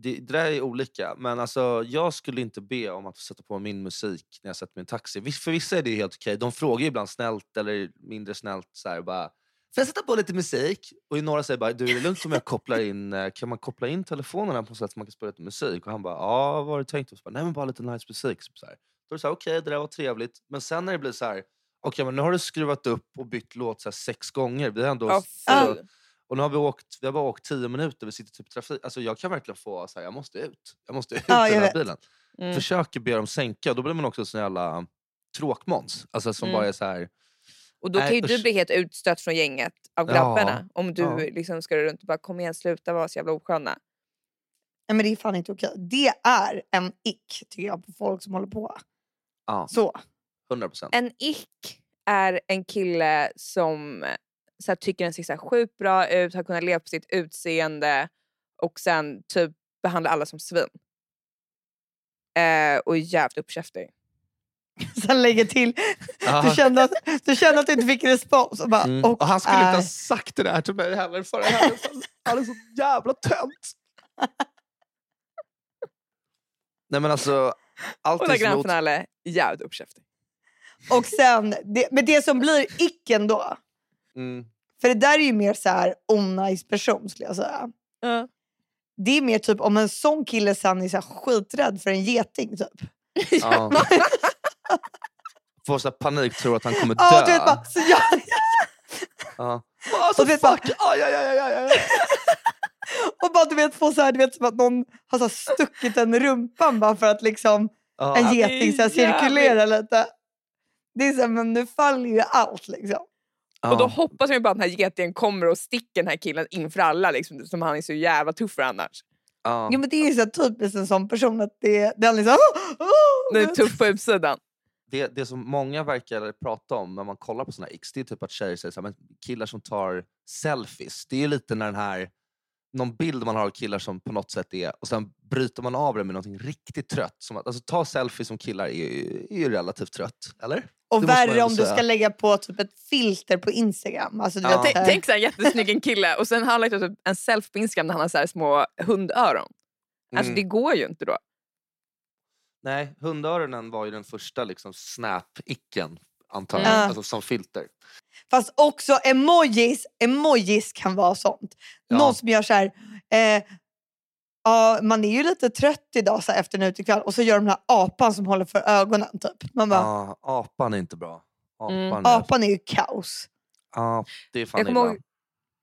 Speaker 2: Det, det där är olika, men alltså, jag skulle inte be om att få sätta på min musik när jag sätter mig i en taxi. Vis- För vissa är det ju helt okej, de frågar ju ibland snällt eller mindre snällt så här, bara Får jag sätta på lite musik? Och i några säger bara, du är det lugnt om jag kopplar in, eh, kan man koppla in telefonerna på något sätt så man kan spela lite musik? Och han bara, ja vad har du tänkt? Och så bara, Nej men bara lite nice musik. Typ Så här. Då är det så här, okej det där var trevligt. Men sen när det blir så här, okej men nu har du skruvat upp och bytt låt så här, sex gånger. Vi har ändå
Speaker 1: Ja,
Speaker 2: alltså,
Speaker 1: fy.
Speaker 2: och nu har vi, åkt, vi har bara åkt 10 minuter, vi sitter typ i trafik. Alltså jag kan verkligen få så här, jag måste ut. Jag måste ut
Speaker 3: Ja,
Speaker 2: ur den
Speaker 3: jag
Speaker 2: här
Speaker 3: vet.
Speaker 2: bilen.
Speaker 1: Mm.
Speaker 2: Försöker be dem sänka, då blir man också sån jävla tråkmåns. Alltså som
Speaker 1: Mm.
Speaker 2: bara är så här,
Speaker 1: Och då kan
Speaker 2: Nej,
Speaker 1: ju du
Speaker 2: usch.
Speaker 1: bli helt utstött från gänget av
Speaker 2: Ja,
Speaker 1: grabbarna. om du
Speaker 2: ja.
Speaker 1: liksom ska runt och bara kom igen sluta vara så jävla osköna.
Speaker 3: Nej men det är fan inte okej. Det är en ick tycker jag på folk som håller på
Speaker 2: ja,
Speaker 3: så. *laughs*
Speaker 2: 100 procent.
Speaker 1: En ick är en kille som så här, tycker den ser så här, sjukt bra ut, har kunnat leva på sitt utseende och sen typ behandlar alla som svin. Eh, och är jävligt uppkäftig.
Speaker 3: Sen lägger till. Du kände, att, du kände att du inte fick respons. Och bara,
Speaker 2: Mm.
Speaker 3: och,
Speaker 2: Och han skulle inte
Speaker 3: är-
Speaker 2: ha sagt det där till mig heller förrän han han är så jävla tönt. Nej men alltså,
Speaker 1: Och där
Speaker 2: allting som är
Speaker 1: Grand
Speaker 2: ot-
Speaker 1: Finale, jävligt uppkäftig.
Speaker 3: och sen, det, men det som blir icken då.
Speaker 2: mm.
Speaker 3: För det där är ju mer så här onajs person skulle jag säga.
Speaker 1: Ja.
Speaker 3: Det är mer typ om en sån kille sen är så här skiträdd för en geting typ.
Speaker 2: ja. Får så här panik, tror att han kommer dö. Alltså,
Speaker 3: Ja, du
Speaker 2: *laughs*
Speaker 3: vet bara, så jag,
Speaker 2: Ja.
Speaker 3: och du vet bara,
Speaker 2: Aj, aj, aj, aj, aj.
Speaker 3: och bara du vet få så här, du vet som att någon har så här stuckit en i rumpan bara för att liksom
Speaker 2: Ja,
Speaker 3: en
Speaker 2: han-
Speaker 3: geting så här
Speaker 1: det är jävligt.
Speaker 3: cirkulerar lite. Det är så här, men nu faller ju allt liksom.
Speaker 2: ja.
Speaker 1: Och då hoppas man ju bara att den här getingen kommer och sticker den här killen inför alla liksom, som han är så jävla tuff för annars.
Speaker 2: Ja.
Speaker 3: Jo men det är ju så här typiskt en sån person att det, den liksom... "Åh, åh",
Speaker 1: Den är
Speaker 3: du vet.
Speaker 1: tuff på utsidan.
Speaker 2: det, det som många verkar prata om när man kollar på såna här x, det är typ att tjejer säger så här, men killar som tar selfies. Det är ju lite när den här, någon bild man har av killar som på något sätt är, och sen bryter man av det med någonting riktigt trött. Som att, alltså ta selfies som killar är ju, är ju relativt trött, eller? det
Speaker 3: Och
Speaker 2: måste man
Speaker 3: värre
Speaker 2: ändå
Speaker 3: om du
Speaker 2: säga.
Speaker 3: ska lägga på typ ett filter på Instagram. Alltså, du
Speaker 2: Ja.
Speaker 3: vet,
Speaker 1: T-
Speaker 3: så här-
Speaker 1: Tänk så här jättesnygg en kille och sen har han lagt ut en selfie på Instagram där han har så här små hundöron. Alltså
Speaker 2: Mm.
Speaker 1: det går ju inte då.
Speaker 2: Nej, hundöronen var ju den första liksom snap-icken, antar jag,
Speaker 3: Mm. Ja.
Speaker 2: alltså, som filter.
Speaker 3: Fast också emojis. Emojis kan vara sånt.
Speaker 2: Ja.
Speaker 3: Någon som gör så här... Eh, ja, man är ju lite trött idag så här, efter en utekväll och så gör de den här apan som håller för ögonen. Typ. Man bara,
Speaker 2: Ja, Ah, apan är inte bra. Apan,
Speaker 1: Mm.
Speaker 2: är,
Speaker 3: Apan är ju kaos.
Speaker 2: ja, det är fan
Speaker 1: Jag kommer
Speaker 2: illa.
Speaker 1: ihåg-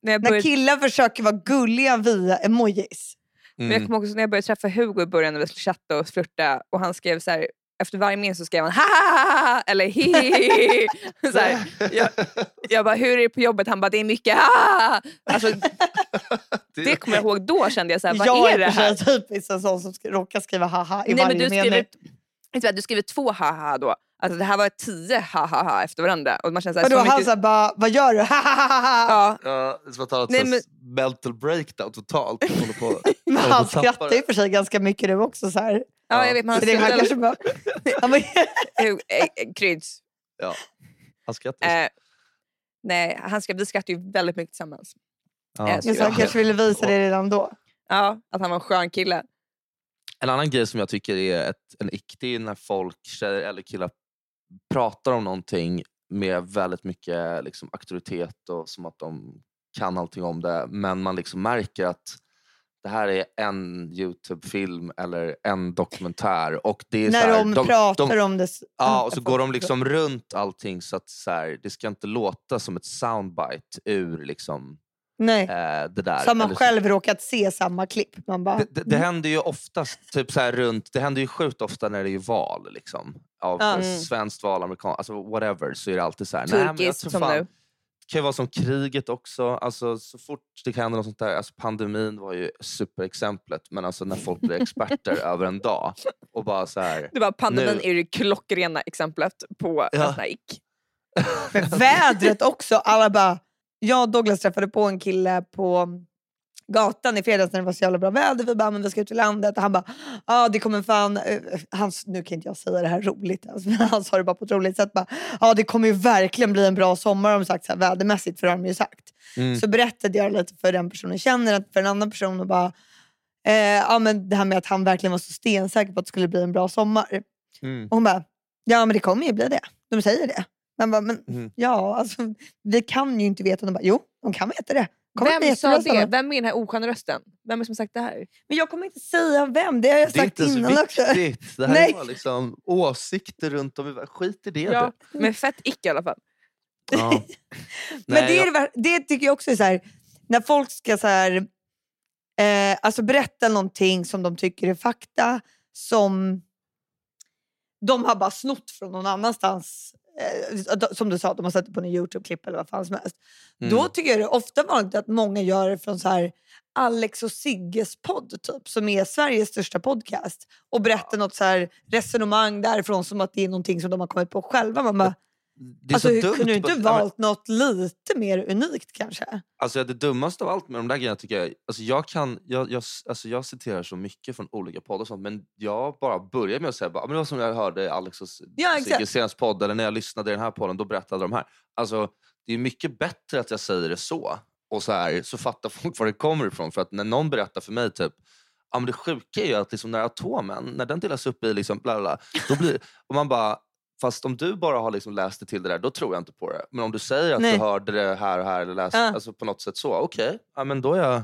Speaker 1: När jag
Speaker 3: När
Speaker 1: började
Speaker 3: killar försöker vara gulliga via emojis.
Speaker 1: Men jag kommer ihåg också när jag började träffa Hugo i början när vi skulle chatta och flirta och han skrev så här, efter varje min så skrev han ha eller hi *laughs* så här.
Speaker 2: Mm. *laughs*
Speaker 1: Jag, jag bara, hur är det på jobbet? Han bara, det är mycket ha alltså, Det kommer jag ihåg då kände jag så här, vad
Speaker 3: jag
Speaker 1: är det
Speaker 3: i och för
Speaker 1: här?
Speaker 3: sig typiskt en sån som sk- råkar skriva haha i
Speaker 1: Nej, men du
Speaker 3: varje mening.
Speaker 1: skriver, vet du vad, du skriver två haha då. Alltså, det här var tio haha efter varandra. Och man känner så här,
Speaker 3: Vadå,
Speaker 1: så
Speaker 3: han
Speaker 1: mycket,
Speaker 3: såhär bara, vad gör du? *laughs* Hahaha.
Speaker 1: ja,
Speaker 2: Ja, det är som att han har
Speaker 1: Nej,
Speaker 2: ett men... mental breakdown totalt. och håller
Speaker 3: *laughs*
Speaker 2: på.
Speaker 3: Men
Speaker 2: håller på
Speaker 3: han
Speaker 2: att tappa
Speaker 3: skrattar ju för sig ganska mycket nu också. Så här.
Speaker 1: ja,
Speaker 2: Ja.
Speaker 1: jag vet. Men han
Speaker 3: Så det är han
Speaker 1: skrattar.
Speaker 3: kanske bara,
Speaker 1: *laughs*
Speaker 3: han *laughs* bara,
Speaker 1: Hugo- eh, eh, Kryds.
Speaker 2: Han
Speaker 3: Äh,
Speaker 2: skrattar.
Speaker 1: Eh, nej, han skrev, vi skrattar ju väldigt mycket tillsammans.
Speaker 2: ja.
Speaker 1: eh,
Speaker 3: men så han kanske ville visa det redan då.
Speaker 1: Ja, att han var en skön kille.
Speaker 2: En annan grej som jag tycker är ett, en ick, det är när folk, tjejer eller killar, pratar om någonting med väldigt mycket liksom, auktoritet och som att de kan allting om det. Men man liksom märker att det här är en Youtube-film eller en dokumentär. Och det är så
Speaker 3: När
Speaker 2: här,
Speaker 3: de, pratar
Speaker 2: de,
Speaker 3: om det. s-
Speaker 2: Ja, och så går de
Speaker 3: folk-
Speaker 2: liksom runt allting så att så här, det ska inte låta som ett soundbite ur liksom,
Speaker 3: Nej.
Speaker 2: eh, det där.
Speaker 3: Så har man
Speaker 2: Eller så-
Speaker 3: själv Mm. råkat se samma klipp. Man bara,
Speaker 2: det, det, det händer ju oftast typ så här runt, det händer ju sjukt ofta när det är val. Liksom, av
Speaker 3: Ja.
Speaker 1: Mm.
Speaker 2: mm. svenskt val, amerikanskt, alltså whatever. Så är det alltid så här. "Nej, men jag
Speaker 1: Turkiskt
Speaker 2: tror
Speaker 1: som
Speaker 2: fan-
Speaker 1: nu.
Speaker 2: Det kan ju vara som kriget också. Alltså, så fort det händer något sånt där. Alltså, pandemin var ju superexemplet. Men alltså när folk blir
Speaker 3: *laughs*
Speaker 2: experter över en dag. Och bara så här.
Speaker 1: Det var pandemin
Speaker 2: Nu-
Speaker 1: är det klockrena exemplet på
Speaker 2: Ja.
Speaker 1: en sån här ick.
Speaker 3: Men vädret också. Alla bara, jag och Douglas träffade på en kille på gatan i fredags när det var så jävla bra väder. Vi bara, men vi ska ut i landet. Och han bara, ja det kommer fan... eh, Han, nu kan inte jag säga det här roligt ens, men han sa det bara på ett roligt sätt. Bara, ja det kommer ju verkligen bli en bra sommar har de sagt så här, vädermässigt, för det har de ju sagt.
Speaker 2: Mm.
Speaker 3: Så berättade jag lite för den personen jag känner, att för en annan person och bara, eh, ja men det här med att han verkligen var så stensäker på att det skulle bli en bra sommar.
Speaker 2: Mm.
Speaker 3: Och hon bara, ja men det kommer ju bli det. De säger det. Man bara, men
Speaker 2: Mm.
Speaker 3: ja, alltså, vi kan ju inte veta. De bara, jo, de kan veta det. Kommer bli
Speaker 1: Vem sa
Speaker 3: jättebra
Speaker 1: det?
Speaker 3: sommar.
Speaker 1: Vem är den här osköna rösten? Vem är det som sagt det här?
Speaker 3: Men jag kommer inte säga vem, det har jag
Speaker 2: Det är
Speaker 3: sagt
Speaker 2: inte så
Speaker 3: innan också.
Speaker 2: viktigt. Det här
Speaker 3: Nej.
Speaker 2: är bara liksom åsikter runt om i världen. Skit i det.
Speaker 1: Ja,
Speaker 2: du.
Speaker 1: men fett ick i alla fall.
Speaker 2: Ja.
Speaker 3: *laughs* Men
Speaker 2: Nej,
Speaker 3: det, är
Speaker 2: jag-
Speaker 3: det, vär- det tycker jag också är så här, när folk ska så här, eh, alltså berätta någonting som de tycker är fakta som de har bara snott från någon annanstans. Eh, som du sa, de har sett det på en Youtube-klipp eller vad fan som helst.
Speaker 2: Mm.
Speaker 3: Då tycker jag det är ofta vanligt att många gör det från så här Alex och Sigges podd, typ, som är Sveriges största podcast. Och berättar något så här resonemang därifrån som att det är någonting som de har kommit på själva. Man bara,
Speaker 2: det är
Speaker 3: alltså,
Speaker 2: så
Speaker 3: hur-
Speaker 2: dumt
Speaker 3: kunde du
Speaker 2: på-
Speaker 3: inte
Speaker 2: ja, men-
Speaker 3: valt något lite mer unikt kanske?
Speaker 2: Alltså det dummaste av allt med de där grejerna tycker jag, alltså jag, kan, jag, jag, alltså jag citerar så mycket från olika poddar och sånt men jag bara börjar med att säga bara, "Ah, men det var som jag hörde i Alex och S-
Speaker 3: Ja, exakt.
Speaker 2: Sigges senaste podd eller när jag lyssnade i den här podden, då berättade de här. Alltså det är mycket bättre att jag säger det så och så här så fattar *laughs* folk var det kommer ifrån för att när någon berättar för mig typ Ja, men det sjuka är ju att liksom när atomen, när den delas upp i liksom bla bla, bla då blir, och man bara, fast om du bara har liksom läst det till det där, då tror jag inte på det. Men om du säger att
Speaker 3: Nej.
Speaker 2: du hörde det här och här eller läste,
Speaker 3: Ja.
Speaker 2: alltså på något sätt så, okej, ja, men då är jag,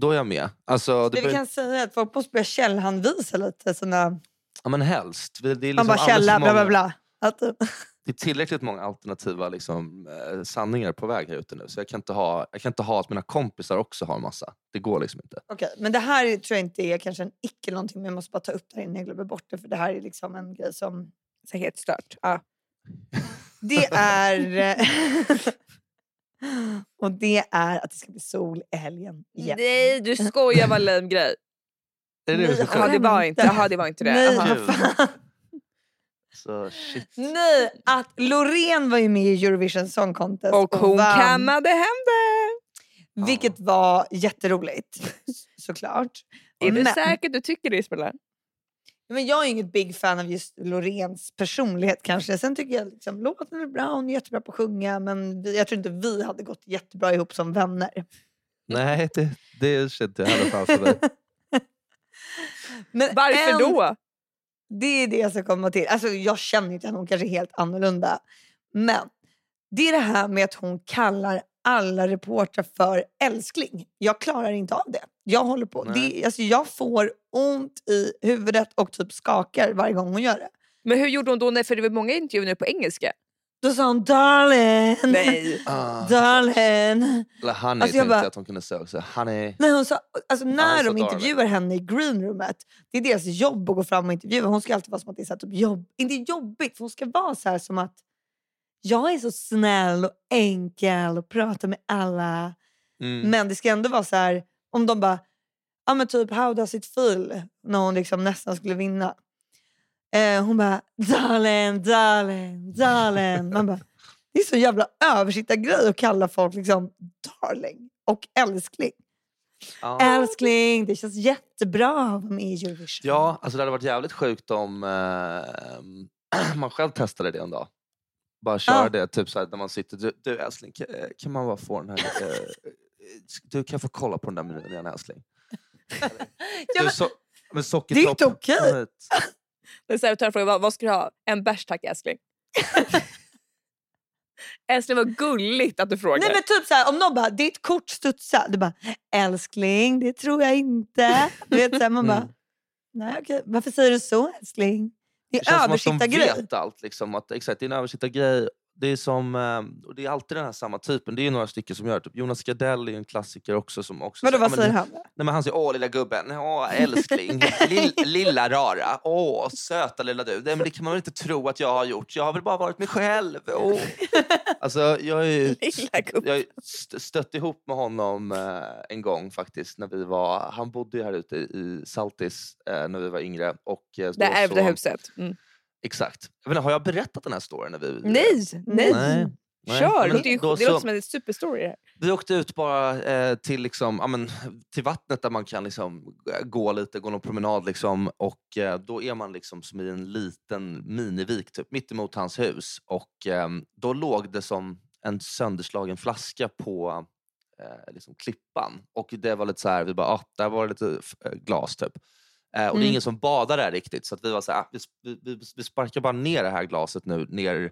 Speaker 2: då är jag med. Alltså, det
Speaker 3: Det vi
Speaker 2: blir,
Speaker 3: kan säga är att folk måste börja källhänvisa lite. Såna,
Speaker 2: ja, men helst. Det, det är
Speaker 3: man
Speaker 2: liksom
Speaker 3: bara
Speaker 2: alldeles för
Speaker 3: källa, bla bla
Speaker 2: många-
Speaker 3: bla. typ. Att,
Speaker 2: Det är tillräckligt många alternativa liksom, eh, sanningar på väg här ute nu. Så jag kan, inte ha, jag kan inte ha att mina kompisar också har massa. Det går liksom inte.
Speaker 3: Okej, men det här tror jag inte är kanske en icke eller någonting, men jag måste bara ta upp det här innan jag glömmer bort det, för det här är liksom en grej som...
Speaker 1: Så helt stört. Ja.
Speaker 3: Det är... eh, *laughs* och det är att det ska bli sol i helgen igen.
Speaker 1: Nej, du skojar vad lame grej.
Speaker 2: Är det det vi
Speaker 3: Nej,
Speaker 2: ska
Speaker 1: Jaha,
Speaker 2: ta?
Speaker 3: skämt.
Speaker 1: det var inte, jaha, det, var inte det.
Speaker 3: Nej,
Speaker 1: Jaha.
Speaker 3: vad fan.
Speaker 2: Så, shit.
Speaker 3: Nej, att Loreen var ju med i Eurovision Song Contest
Speaker 1: Och hon
Speaker 3: vann,
Speaker 1: kammade hem det.
Speaker 3: Vilket var jätteroligt, såklart.
Speaker 1: Är du
Speaker 3: Men-
Speaker 1: säker du tycker det Isabella?
Speaker 3: Men jag är inget big fan av just Loreens personlighet kanske. Sen tycker jag liksom, låten är bra, hon är jättebra på att sjunga men vi, jag tror inte vi hade gått jättebra ihop som vänner.
Speaker 2: Nej, det, det kände jag heller framför
Speaker 3: *laughs*
Speaker 2: mig.
Speaker 3: Men
Speaker 1: Varför
Speaker 3: en-
Speaker 1: då?
Speaker 3: Det är det jag ska komma till. Alltså, jag känner ju inte henne, hon kanske är helt annorlunda. Men det är det här med att hon kallar alla reportrar för älskling. Jag klarar inte av det. Jag håller på.
Speaker 2: Nej.
Speaker 3: Det, alltså, jag får ont i huvudet och typ skakar varje gång hon gör det.
Speaker 1: Men hur gjorde hon då? när- För det var många intervjuer nu på engelska.
Speaker 3: Då sa hon darling, *laughs*
Speaker 1: *laughs* Nej.
Speaker 2: Ah,
Speaker 3: darling.
Speaker 2: eller honey
Speaker 3: Alltså, jag
Speaker 2: tänkte jag
Speaker 3: bara-
Speaker 2: att hon kunde säga också. Honey.
Speaker 3: Nej, hon sa, alltså, när
Speaker 2: hon sa
Speaker 3: de
Speaker 2: darling.
Speaker 3: intervjuar henne i greenroomet, det är deras jobb att gå fram och intervjua. Hon ska alltid vara som att det är så här, typ jobb, inte jobbigt, för hon ska vara så här som att jag är så snäll och enkel och pratar med alla.
Speaker 2: Mm.
Speaker 3: Men det ska ändå vara så här, om de bara, ja men typ how does it feel? När hon liksom nästan skulle vinna. Eh, hon bara, darling, darling, darling. Man bara, det är så jävla översittargrej att kalla folk liksom darling och älskling.
Speaker 2: Ja.
Speaker 3: Älskling, det känns jättebra att vara med i Eurovision.
Speaker 2: Ja, alltså det hade varit jävligt sjukt om eh, *clears throat* man själv testade det en dag. Bara köra
Speaker 3: Ja.
Speaker 2: det, typ såhär när man sitter. Du, du älskling, kan, eh, kan man bara få den här... eh, eh, du kan få kolla på den där menyn igen
Speaker 3: *laughs*
Speaker 2: älskling.
Speaker 3: Ja,
Speaker 2: du,
Speaker 3: men-
Speaker 2: so med
Speaker 3: Det är inte
Speaker 2: sockertopp.
Speaker 3: okej.
Speaker 2: kom hit.
Speaker 1: Servitören frågade vad, vad ska du ha? En bärs tack *laughs* älskling. älskling vad gulligt att du frågar.
Speaker 3: Nej men typ så här, om någon bara, ditt kort studsar. Du bara, älskling, det tror jag inte. Du vet så här, man bara,
Speaker 2: Mm.
Speaker 3: nej okej, varför säger du så älskling? Det *laughs*
Speaker 2: Det känns
Speaker 3: är
Speaker 2: som att de
Speaker 3: översittargrej.
Speaker 2: vet allt. Liksom, att, exakt, det är en översittargrej. Det är, som, eh, och det är alltid den här samma typen. Det är ju några stycken som gör det. Typ Jonas Gardell är ju en klassiker också. Som också
Speaker 3: Vadå,
Speaker 2: så-
Speaker 3: vad
Speaker 2: ja, men-
Speaker 3: säger han?
Speaker 2: Nej, men han säger åh lilla gubben, åh älskling, Lill, lilla rara, åh söta lilla du. Nej, men det kan man väl inte tro att jag har gjort, jag har väl bara varit mig själv. Åh. Alltså, jag är ju
Speaker 1: *laughs* Lilla gubben.
Speaker 2: jag är st- stött ihop med honom eh, en gång faktiskt. När vi var, han bodde ju här ute i Saltis eh, när vi var yngre. Och, eh,
Speaker 1: Det
Speaker 2: då
Speaker 1: ärvda
Speaker 2: så-
Speaker 1: huset. Mm.
Speaker 2: Exakt. Jag vet inte, har jag berättat den här storyn? När vi,
Speaker 1: Nej, nej.
Speaker 2: Nej. Nej.
Speaker 1: Kör!
Speaker 2: Men
Speaker 1: Det, är ju,
Speaker 2: då
Speaker 1: det
Speaker 2: så-
Speaker 1: låter som en superstory. här.
Speaker 2: vi åkte ut bara eh, till, liksom, ja, men, till vattnet där man kan liksom, eh, gå lite, gå någon promenad. Liksom, och eh, då är man liksom som i en liten minivik typ, mitt emot hans hus. Och ehm, då låg det som en sönderslagen flaska på eh, liksom, klippan. Och det var lite så här, vi bara, ah, där var det lite f- eh, glas typ. Eh, och det
Speaker 3: Mm.
Speaker 2: är ingen som badar där riktigt. Så att vi var så här, ah, vi, sp- vi, vi, vi sparkar bara ner det här glaset nu, ner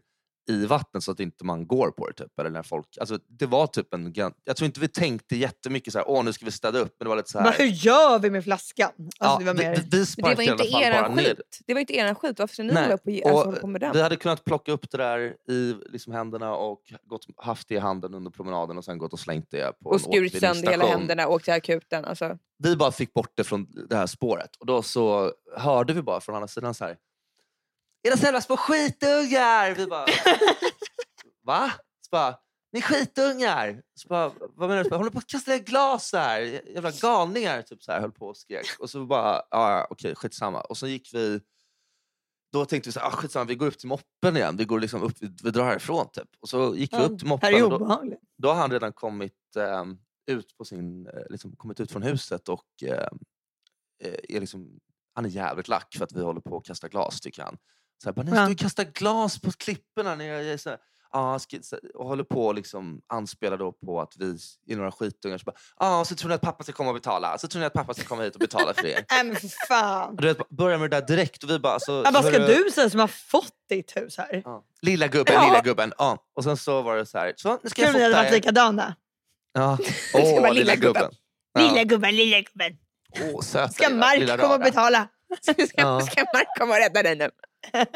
Speaker 2: i vattnet så att inte man går på det. Typ. Eller när folk, alltså, det var typ en, gran- jag tror inte vi tänkte jättemycket så här, åh nu ska vi städa upp. Men det var lite så
Speaker 3: Bara,
Speaker 2: här,
Speaker 3: hur gör vi med flaskan?
Speaker 2: ja,
Speaker 3: Alltså, det var
Speaker 2: vi,
Speaker 3: mer...
Speaker 2: vi- vi
Speaker 1: Det var
Speaker 2: sparkade i alla
Speaker 1: inte
Speaker 2: fall bara
Speaker 1: eran
Speaker 2: ner.
Speaker 1: skit. Det var inte eran skit. Varför ska ni
Speaker 2: Nej,
Speaker 1: hålla på ge-
Speaker 2: och
Speaker 1: alltså, hålla på med den?
Speaker 2: Vi hade kunnat plocka upp det där i liksom, händerna och gått, haft det i handen under promenaden och sen gått och slängt det på
Speaker 1: Och
Speaker 2: en
Speaker 1: skurit sönder hela
Speaker 2: återvinningsstation.
Speaker 1: händerna och åkt till akuten. Alltså.
Speaker 2: vi bara fick bort det från det här spåret. Och då så hörde vi bara från andra sidan så här. Era jävla små skitungar! Vi bara, va? Så bara, ni är skitungar! Så bara, vad menar du? Så bara, Håller på att kasta ner glas här! Jävla galningar! Typ så här, höll på och skrek. Och så bara, ja, ja, okej, skitsamma. Och så gick vi Då tänkte vi så här, ah, skitsamma, vi går upp till moppen igen. Vi, går liksom upp, vi, vi drar härifrån typ. Och så gick vi upp till
Speaker 3: Här
Speaker 2: moppen.
Speaker 3: är det
Speaker 2: och Då,
Speaker 3: obehagligt.
Speaker 2: då har han redan kommit, ehm, ut, på sin, eh, liksom, kommit ut från huset och ehm, eh, är liksom, han är jävligt lack för att vi håller på att kasta glas tycker han. Så här, bara, ni
Speaker 3: Ja.
Speaker 2: står och kastar glas på klipporna. Ni är, är så här, "Ja, ska- så här", och håller på och liksom anspelar då på att vi är några skitungar. Så bara, ah, så tror ni att pappa ska komma och betala? Så tror ni att pappa ska komma hit och betala för er? *laughs*
Speaker 3: Nej men för fan.
Speaker 2: Och Du vet, börjar med det där direkt och vi bara... Alltså,
Speaker 3: Ja, vad ska
Speaker 2: hörru-
Speaker 3: du säga som har fått ditt hus här?
Speaker 2: Ja. Lilla gubben,
Speaker 3: Ja.
Speaker 2: lilla gubben. Ja. Och sen så var det så här, så nu ska
Speaker 3: Kul
Speaker 2: jag
Speaker 3: om ni hade
Speaker 2: fota
Speaker 3: varit
Speaker 2: er.
Speaker 3: likadana.
Speaker 2: Ja.
Speaker 1: ska
Speaker 2: Åh,
Speaker 1: vara
Speaker 2: lilla,
Speaker 1: lilla gubben.
Speaker 2: gubben.
Speaker 3: Lilla gubben, lilla gubben.
Speaker 2: Ja. Åh, söta Alltså,
Speaker 3: Ska
Speaker 2: lilla-
Speaker 3: Mark
Speaker 2: lilla
Speaker 3: komma och
Speaker 2: rara.
Speaker 3: betala?
Speaker 1: *laughs* ska,
Speaker 2: Ja.
Speaker 1: ska Mark komma och rädda dig nu?
Speaker 2: Nej,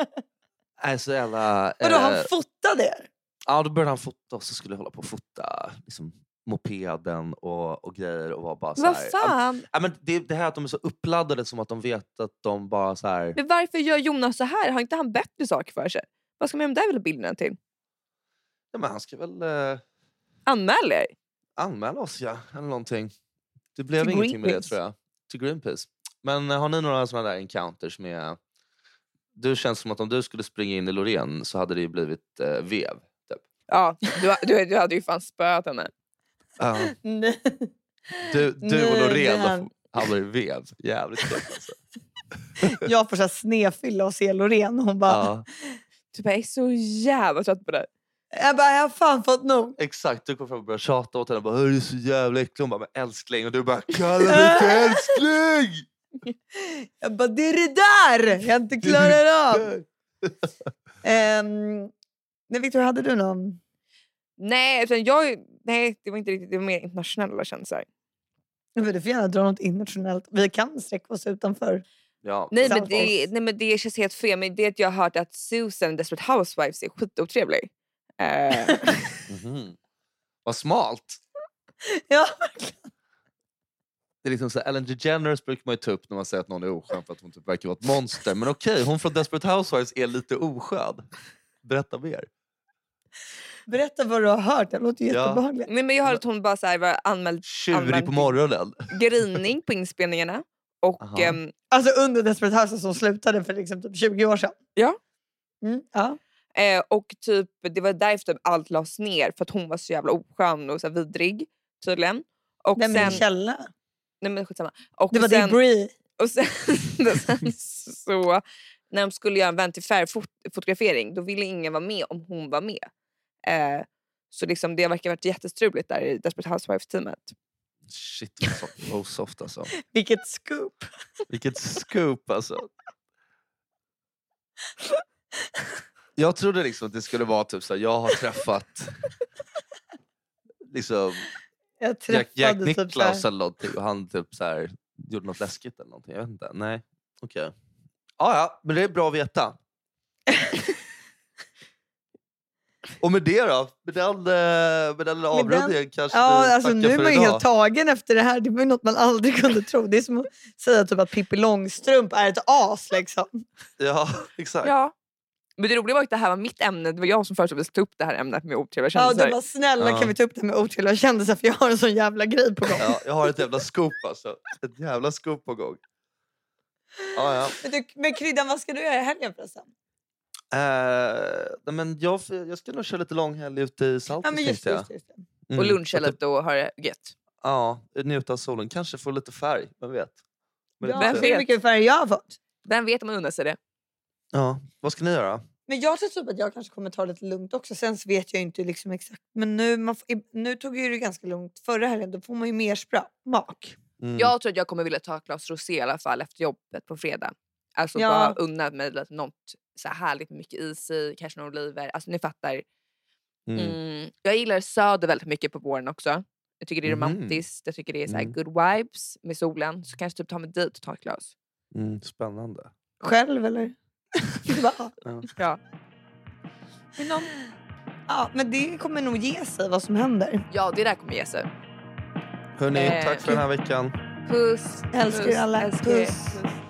Speaker 2: Äh, så jävla...
Speaker 3: Vadå,
Speaker 2: eh,
Speaker 3: han fotade er? *laughs*
Speaker 2: Ja, då började han fota och så skulle jag hålla på och fota liksom, mopeden och, och grejer och var bara så här...
Speaker 1: Vad fan?
Speaker 2: Ja, men det, det här att de är så uppladdade som att de vet att de bara så här...
Speaker 1: Men varför gör Jonas så här? Har inte han bättre saker för sig? Vad ska man göra med de där jävla bilderna till?
Speaker 2: Ja, men han ska väl eh,
Speaker 1: Anmäl er!
Speaker 2: anmäla oss, ja. Eller någonting. Det blev
Speaker 1: Till
Speaker 2: ingenting med det,
Speaker 1: Greenpeace.
Speaker 2: tror jag. Till Greenpeace. Men eh, har ni några sådana där encounters med... Du känns som att om du skulle springa in i Loreen så hade det ju blivit eh, vev. Typ.
Speaker 1: Ja, du, du, du hade ju fan spöat henne.
Speaker 2: Ja.
Speaker 3: Nej.
Speaker 2: Du, du och
Speaker 3: Nej,
Speaker 2: Loreen
Speaker 3: den-
Speaker 2: de hamnar i vev. Jävligt kul.
Speaker 3: *laughs*
Speaker 2: Alltså.
Speaker 3: Jag får så här snefylla och se Loreen och hon bara,
Speaker 2: Ja,
Speaker 1: Du bara, Typ, jag är så jävla trött på dig.
Speaker 3: jag, bara jag har fan fått nog.
Speaker 2: exakt, du kommer fram och börjar tjata åt henne. och Bara, "Hör, du är så jävla äcklig. Hon bara, men älskling. Och du bara, kalla mig
Speaker 3: *laughs*
Speaker 2: för älskling!
Speaker 3: Jag bara, det är det där jag inte klarar av.
Speaker 2: *laughs*
Speaker 3: Um, nej, Victor, hade du någon?
Speaker 1: Nej, utan jag, nej, det var inte riktigt, det var mer internationella känslor.
Speaker 3: Nej, men Du får gärna dra något internationellt. Vi kan sträcka oss utanför.
Speaker 2: Ja,
Speaker 1: Nej men,
Speaker 3: Samma
Speaker 1: det, nej men det känns helt fel. Men det att jag har hört att Susan i Desperate Housewives är skitotrevlig. *laughs* Eh,
Speaker 2: Mhm. Vad smalt.
Speaker 3: *laughs* Ja.
Speaker 2: Det är liksom så här, Ellen DeGeneres brukar man ju ta upp när man säger att någon är oskön för att hon typ verkar vara ett monster. Men okej, hon från Desperate Housewives är lite oskön. Berätta mer.
Speaker 3: Berätta vad du har hört. Det låter ju
Speaker 2: Ja.
Speaker 3: jättebehagligt.
Speaker 1: nej, men jag har hört att hon bara så här, var anmäld
Speaker 2: Tjurig på
Speaker 1: Använd-
Speaker 2: morgonen.
Speaker 1: grinning på inspelningarna. Och
Speaker 2: Aha.
Speaker 1: ehm,
Speaker 3: Alltså under Desperate Houses som slutade för liksom typ 20 år sedan.
Speaker 1: Ja.
Speaker 3: Mm, ja.
Speaker 1: Eh, och typ, det var därför typ allt lades ner, för att hon var så jävla oskön och så här vidrig. Tydligen. Och
Speaker 3: Nej, men
Speaker 1: sen...
Speaker 3: Källa.
Speaker 1: Nej, men skitsamma. Och
Speaker 3: Det var
Speaker 1: sen,
Speaker 3: det Bree.
Speaker 1: och sen, *laughs* och sen så, när de skulle göra en vän till fotografering då ville ingen vara med om hon var med. Eh, så liksom, det verkar ha varit jättestruligt där i Desperate Housewives-teamet.
Speaker 2: Shit vad soft, vad osoft alltså.
Speaker 3: Vilket scoop.
Speaker 2: Vilket scoop alltså. *laughs* Jag trodde liksom att det skulle vara typ så här, jag har träffat liksom
Speaker 3: Jag
Speaker 2: Jack,
Speaker 3: träffade
Speaker 2: Jack
Speaker 3: typ så här-
Speaker 2: Nicklaus alltså, eller någonting och han typ så här, gjorde något läskigt eller någonting. Jag vet inte. Nej, okej. Ja, ja, men det är bra att
Speaker 3: *laughs*
Speaker 2: veta. och med det då? Med den, eh, med den lilla
Speaker 3: Med den-
Speaker 2: avrundningen kanske vi
Speaker 3: Ja, alltså
Speaker 2: tackar
Speaker 3: nu är
Speaker 2: för
Speaker 3: man ju
Speaker 2: idag.
Speaker 3: helt tagen efter det här. Det var ju något man aldrig kunde tro. Det är som att säga typ att Pippi Långstrump är ett as liksom.
Speaker 2: Ja, *laughs* exakt.
Speaker 1: Ja. Men det roliga var att det här var mitt ämne. Det var jag som föreslog att vi skulle ta upp det här ämnet med otrevliga
Speaker 3: Ja,
Speaker 1: kändisar.
Speaker 3: du bara, snälla
Speaker 2: Ja.
Speaker 3: kan vi ta upp det med otrevliga kändisar för jag har en sån jävla grej på gång.
Speaker 2: Ja, jag har ett jävla scoop alltså. Ett jävla scoop på gång. Ja, ja.
Speaker 3: Men, du, men Kryddan, vad ska du göra i helgen förresten?
Speaker 2: Eh, nej, men jag, jag ska nog köra lite långhelg ute i Saltis.
Speaker 3: Ja, men just,
Speaker 2: tänkte jag.
Speaker 3: just, just. det.
Speaker 2: Mm,
Speaker 1: Och
Speaker 2: så att
Speaker 1: luncha
Speaker 2: det-
Speaker 1: lite och ha det gött.
Speaker 2: Ja, njuta av solen. Kanske få lite färg, vem vet? Men
Speaker 3: Ja,
Speaker 2: det-
Speaker 1: vem
Speaker 3: hur
Speaker 1: vet?
Speaker 3: mycket färg jag har fått.
Speaker 1: Vem vet om man unnar sig det?
Speaker 2: ja. Vad ska ni göra?
Speaker 3: Men jag tror typ att jag kanske kommer ta det lite lugnt också. Sen så vet jag ju inte liksom exakt. Men nu, man, får- i- nu tog jag ju det ganska lugnt förra helgen. Då får man ju mer spra- smak.
Speaker 2: Mm.
Speaker 1: Jag tror att jag kommer vilja ta ett glas rosé i alla fall efter jobbet på fredag. Alltså
Speaker 3: Ja.
Speaker 1: bara unna mig lite något så här härligt med mycket is i, kanske några oliver. Alltså ni fattar.
Speaker 2: Mm.
Speaker 1: Mm. Jag gillar söder väldigt mycket på våren också. Jag tycker det är
Speaker 2: Mhm.
Speaker 1: romantiskt, jag tycker det är så här
Speaker 2: Mm.
Speaker 1: good vibes med solen. Så kanske typ ta mig dit och ta ett glas.
Speaker 2: Mm, spännande.
Speaker 3: Själv eller? *laughs* Det var-
Speaker 1: Ja. Men någon,
Speaker 3: ja, men det kommer nog ge sig vad som händer.
Speaker 1: ja, det där kommer ge sig.
Speaker 2: Hörni,
Speaker 1: Eh,
Speaker 2: tack för den här veckan.
Speaker 1: Puss!
Speaker 3: Älskar er alla.
Speaker 1: Älskar er.
Speaker 3: Puss.
Speaker 1: Puss.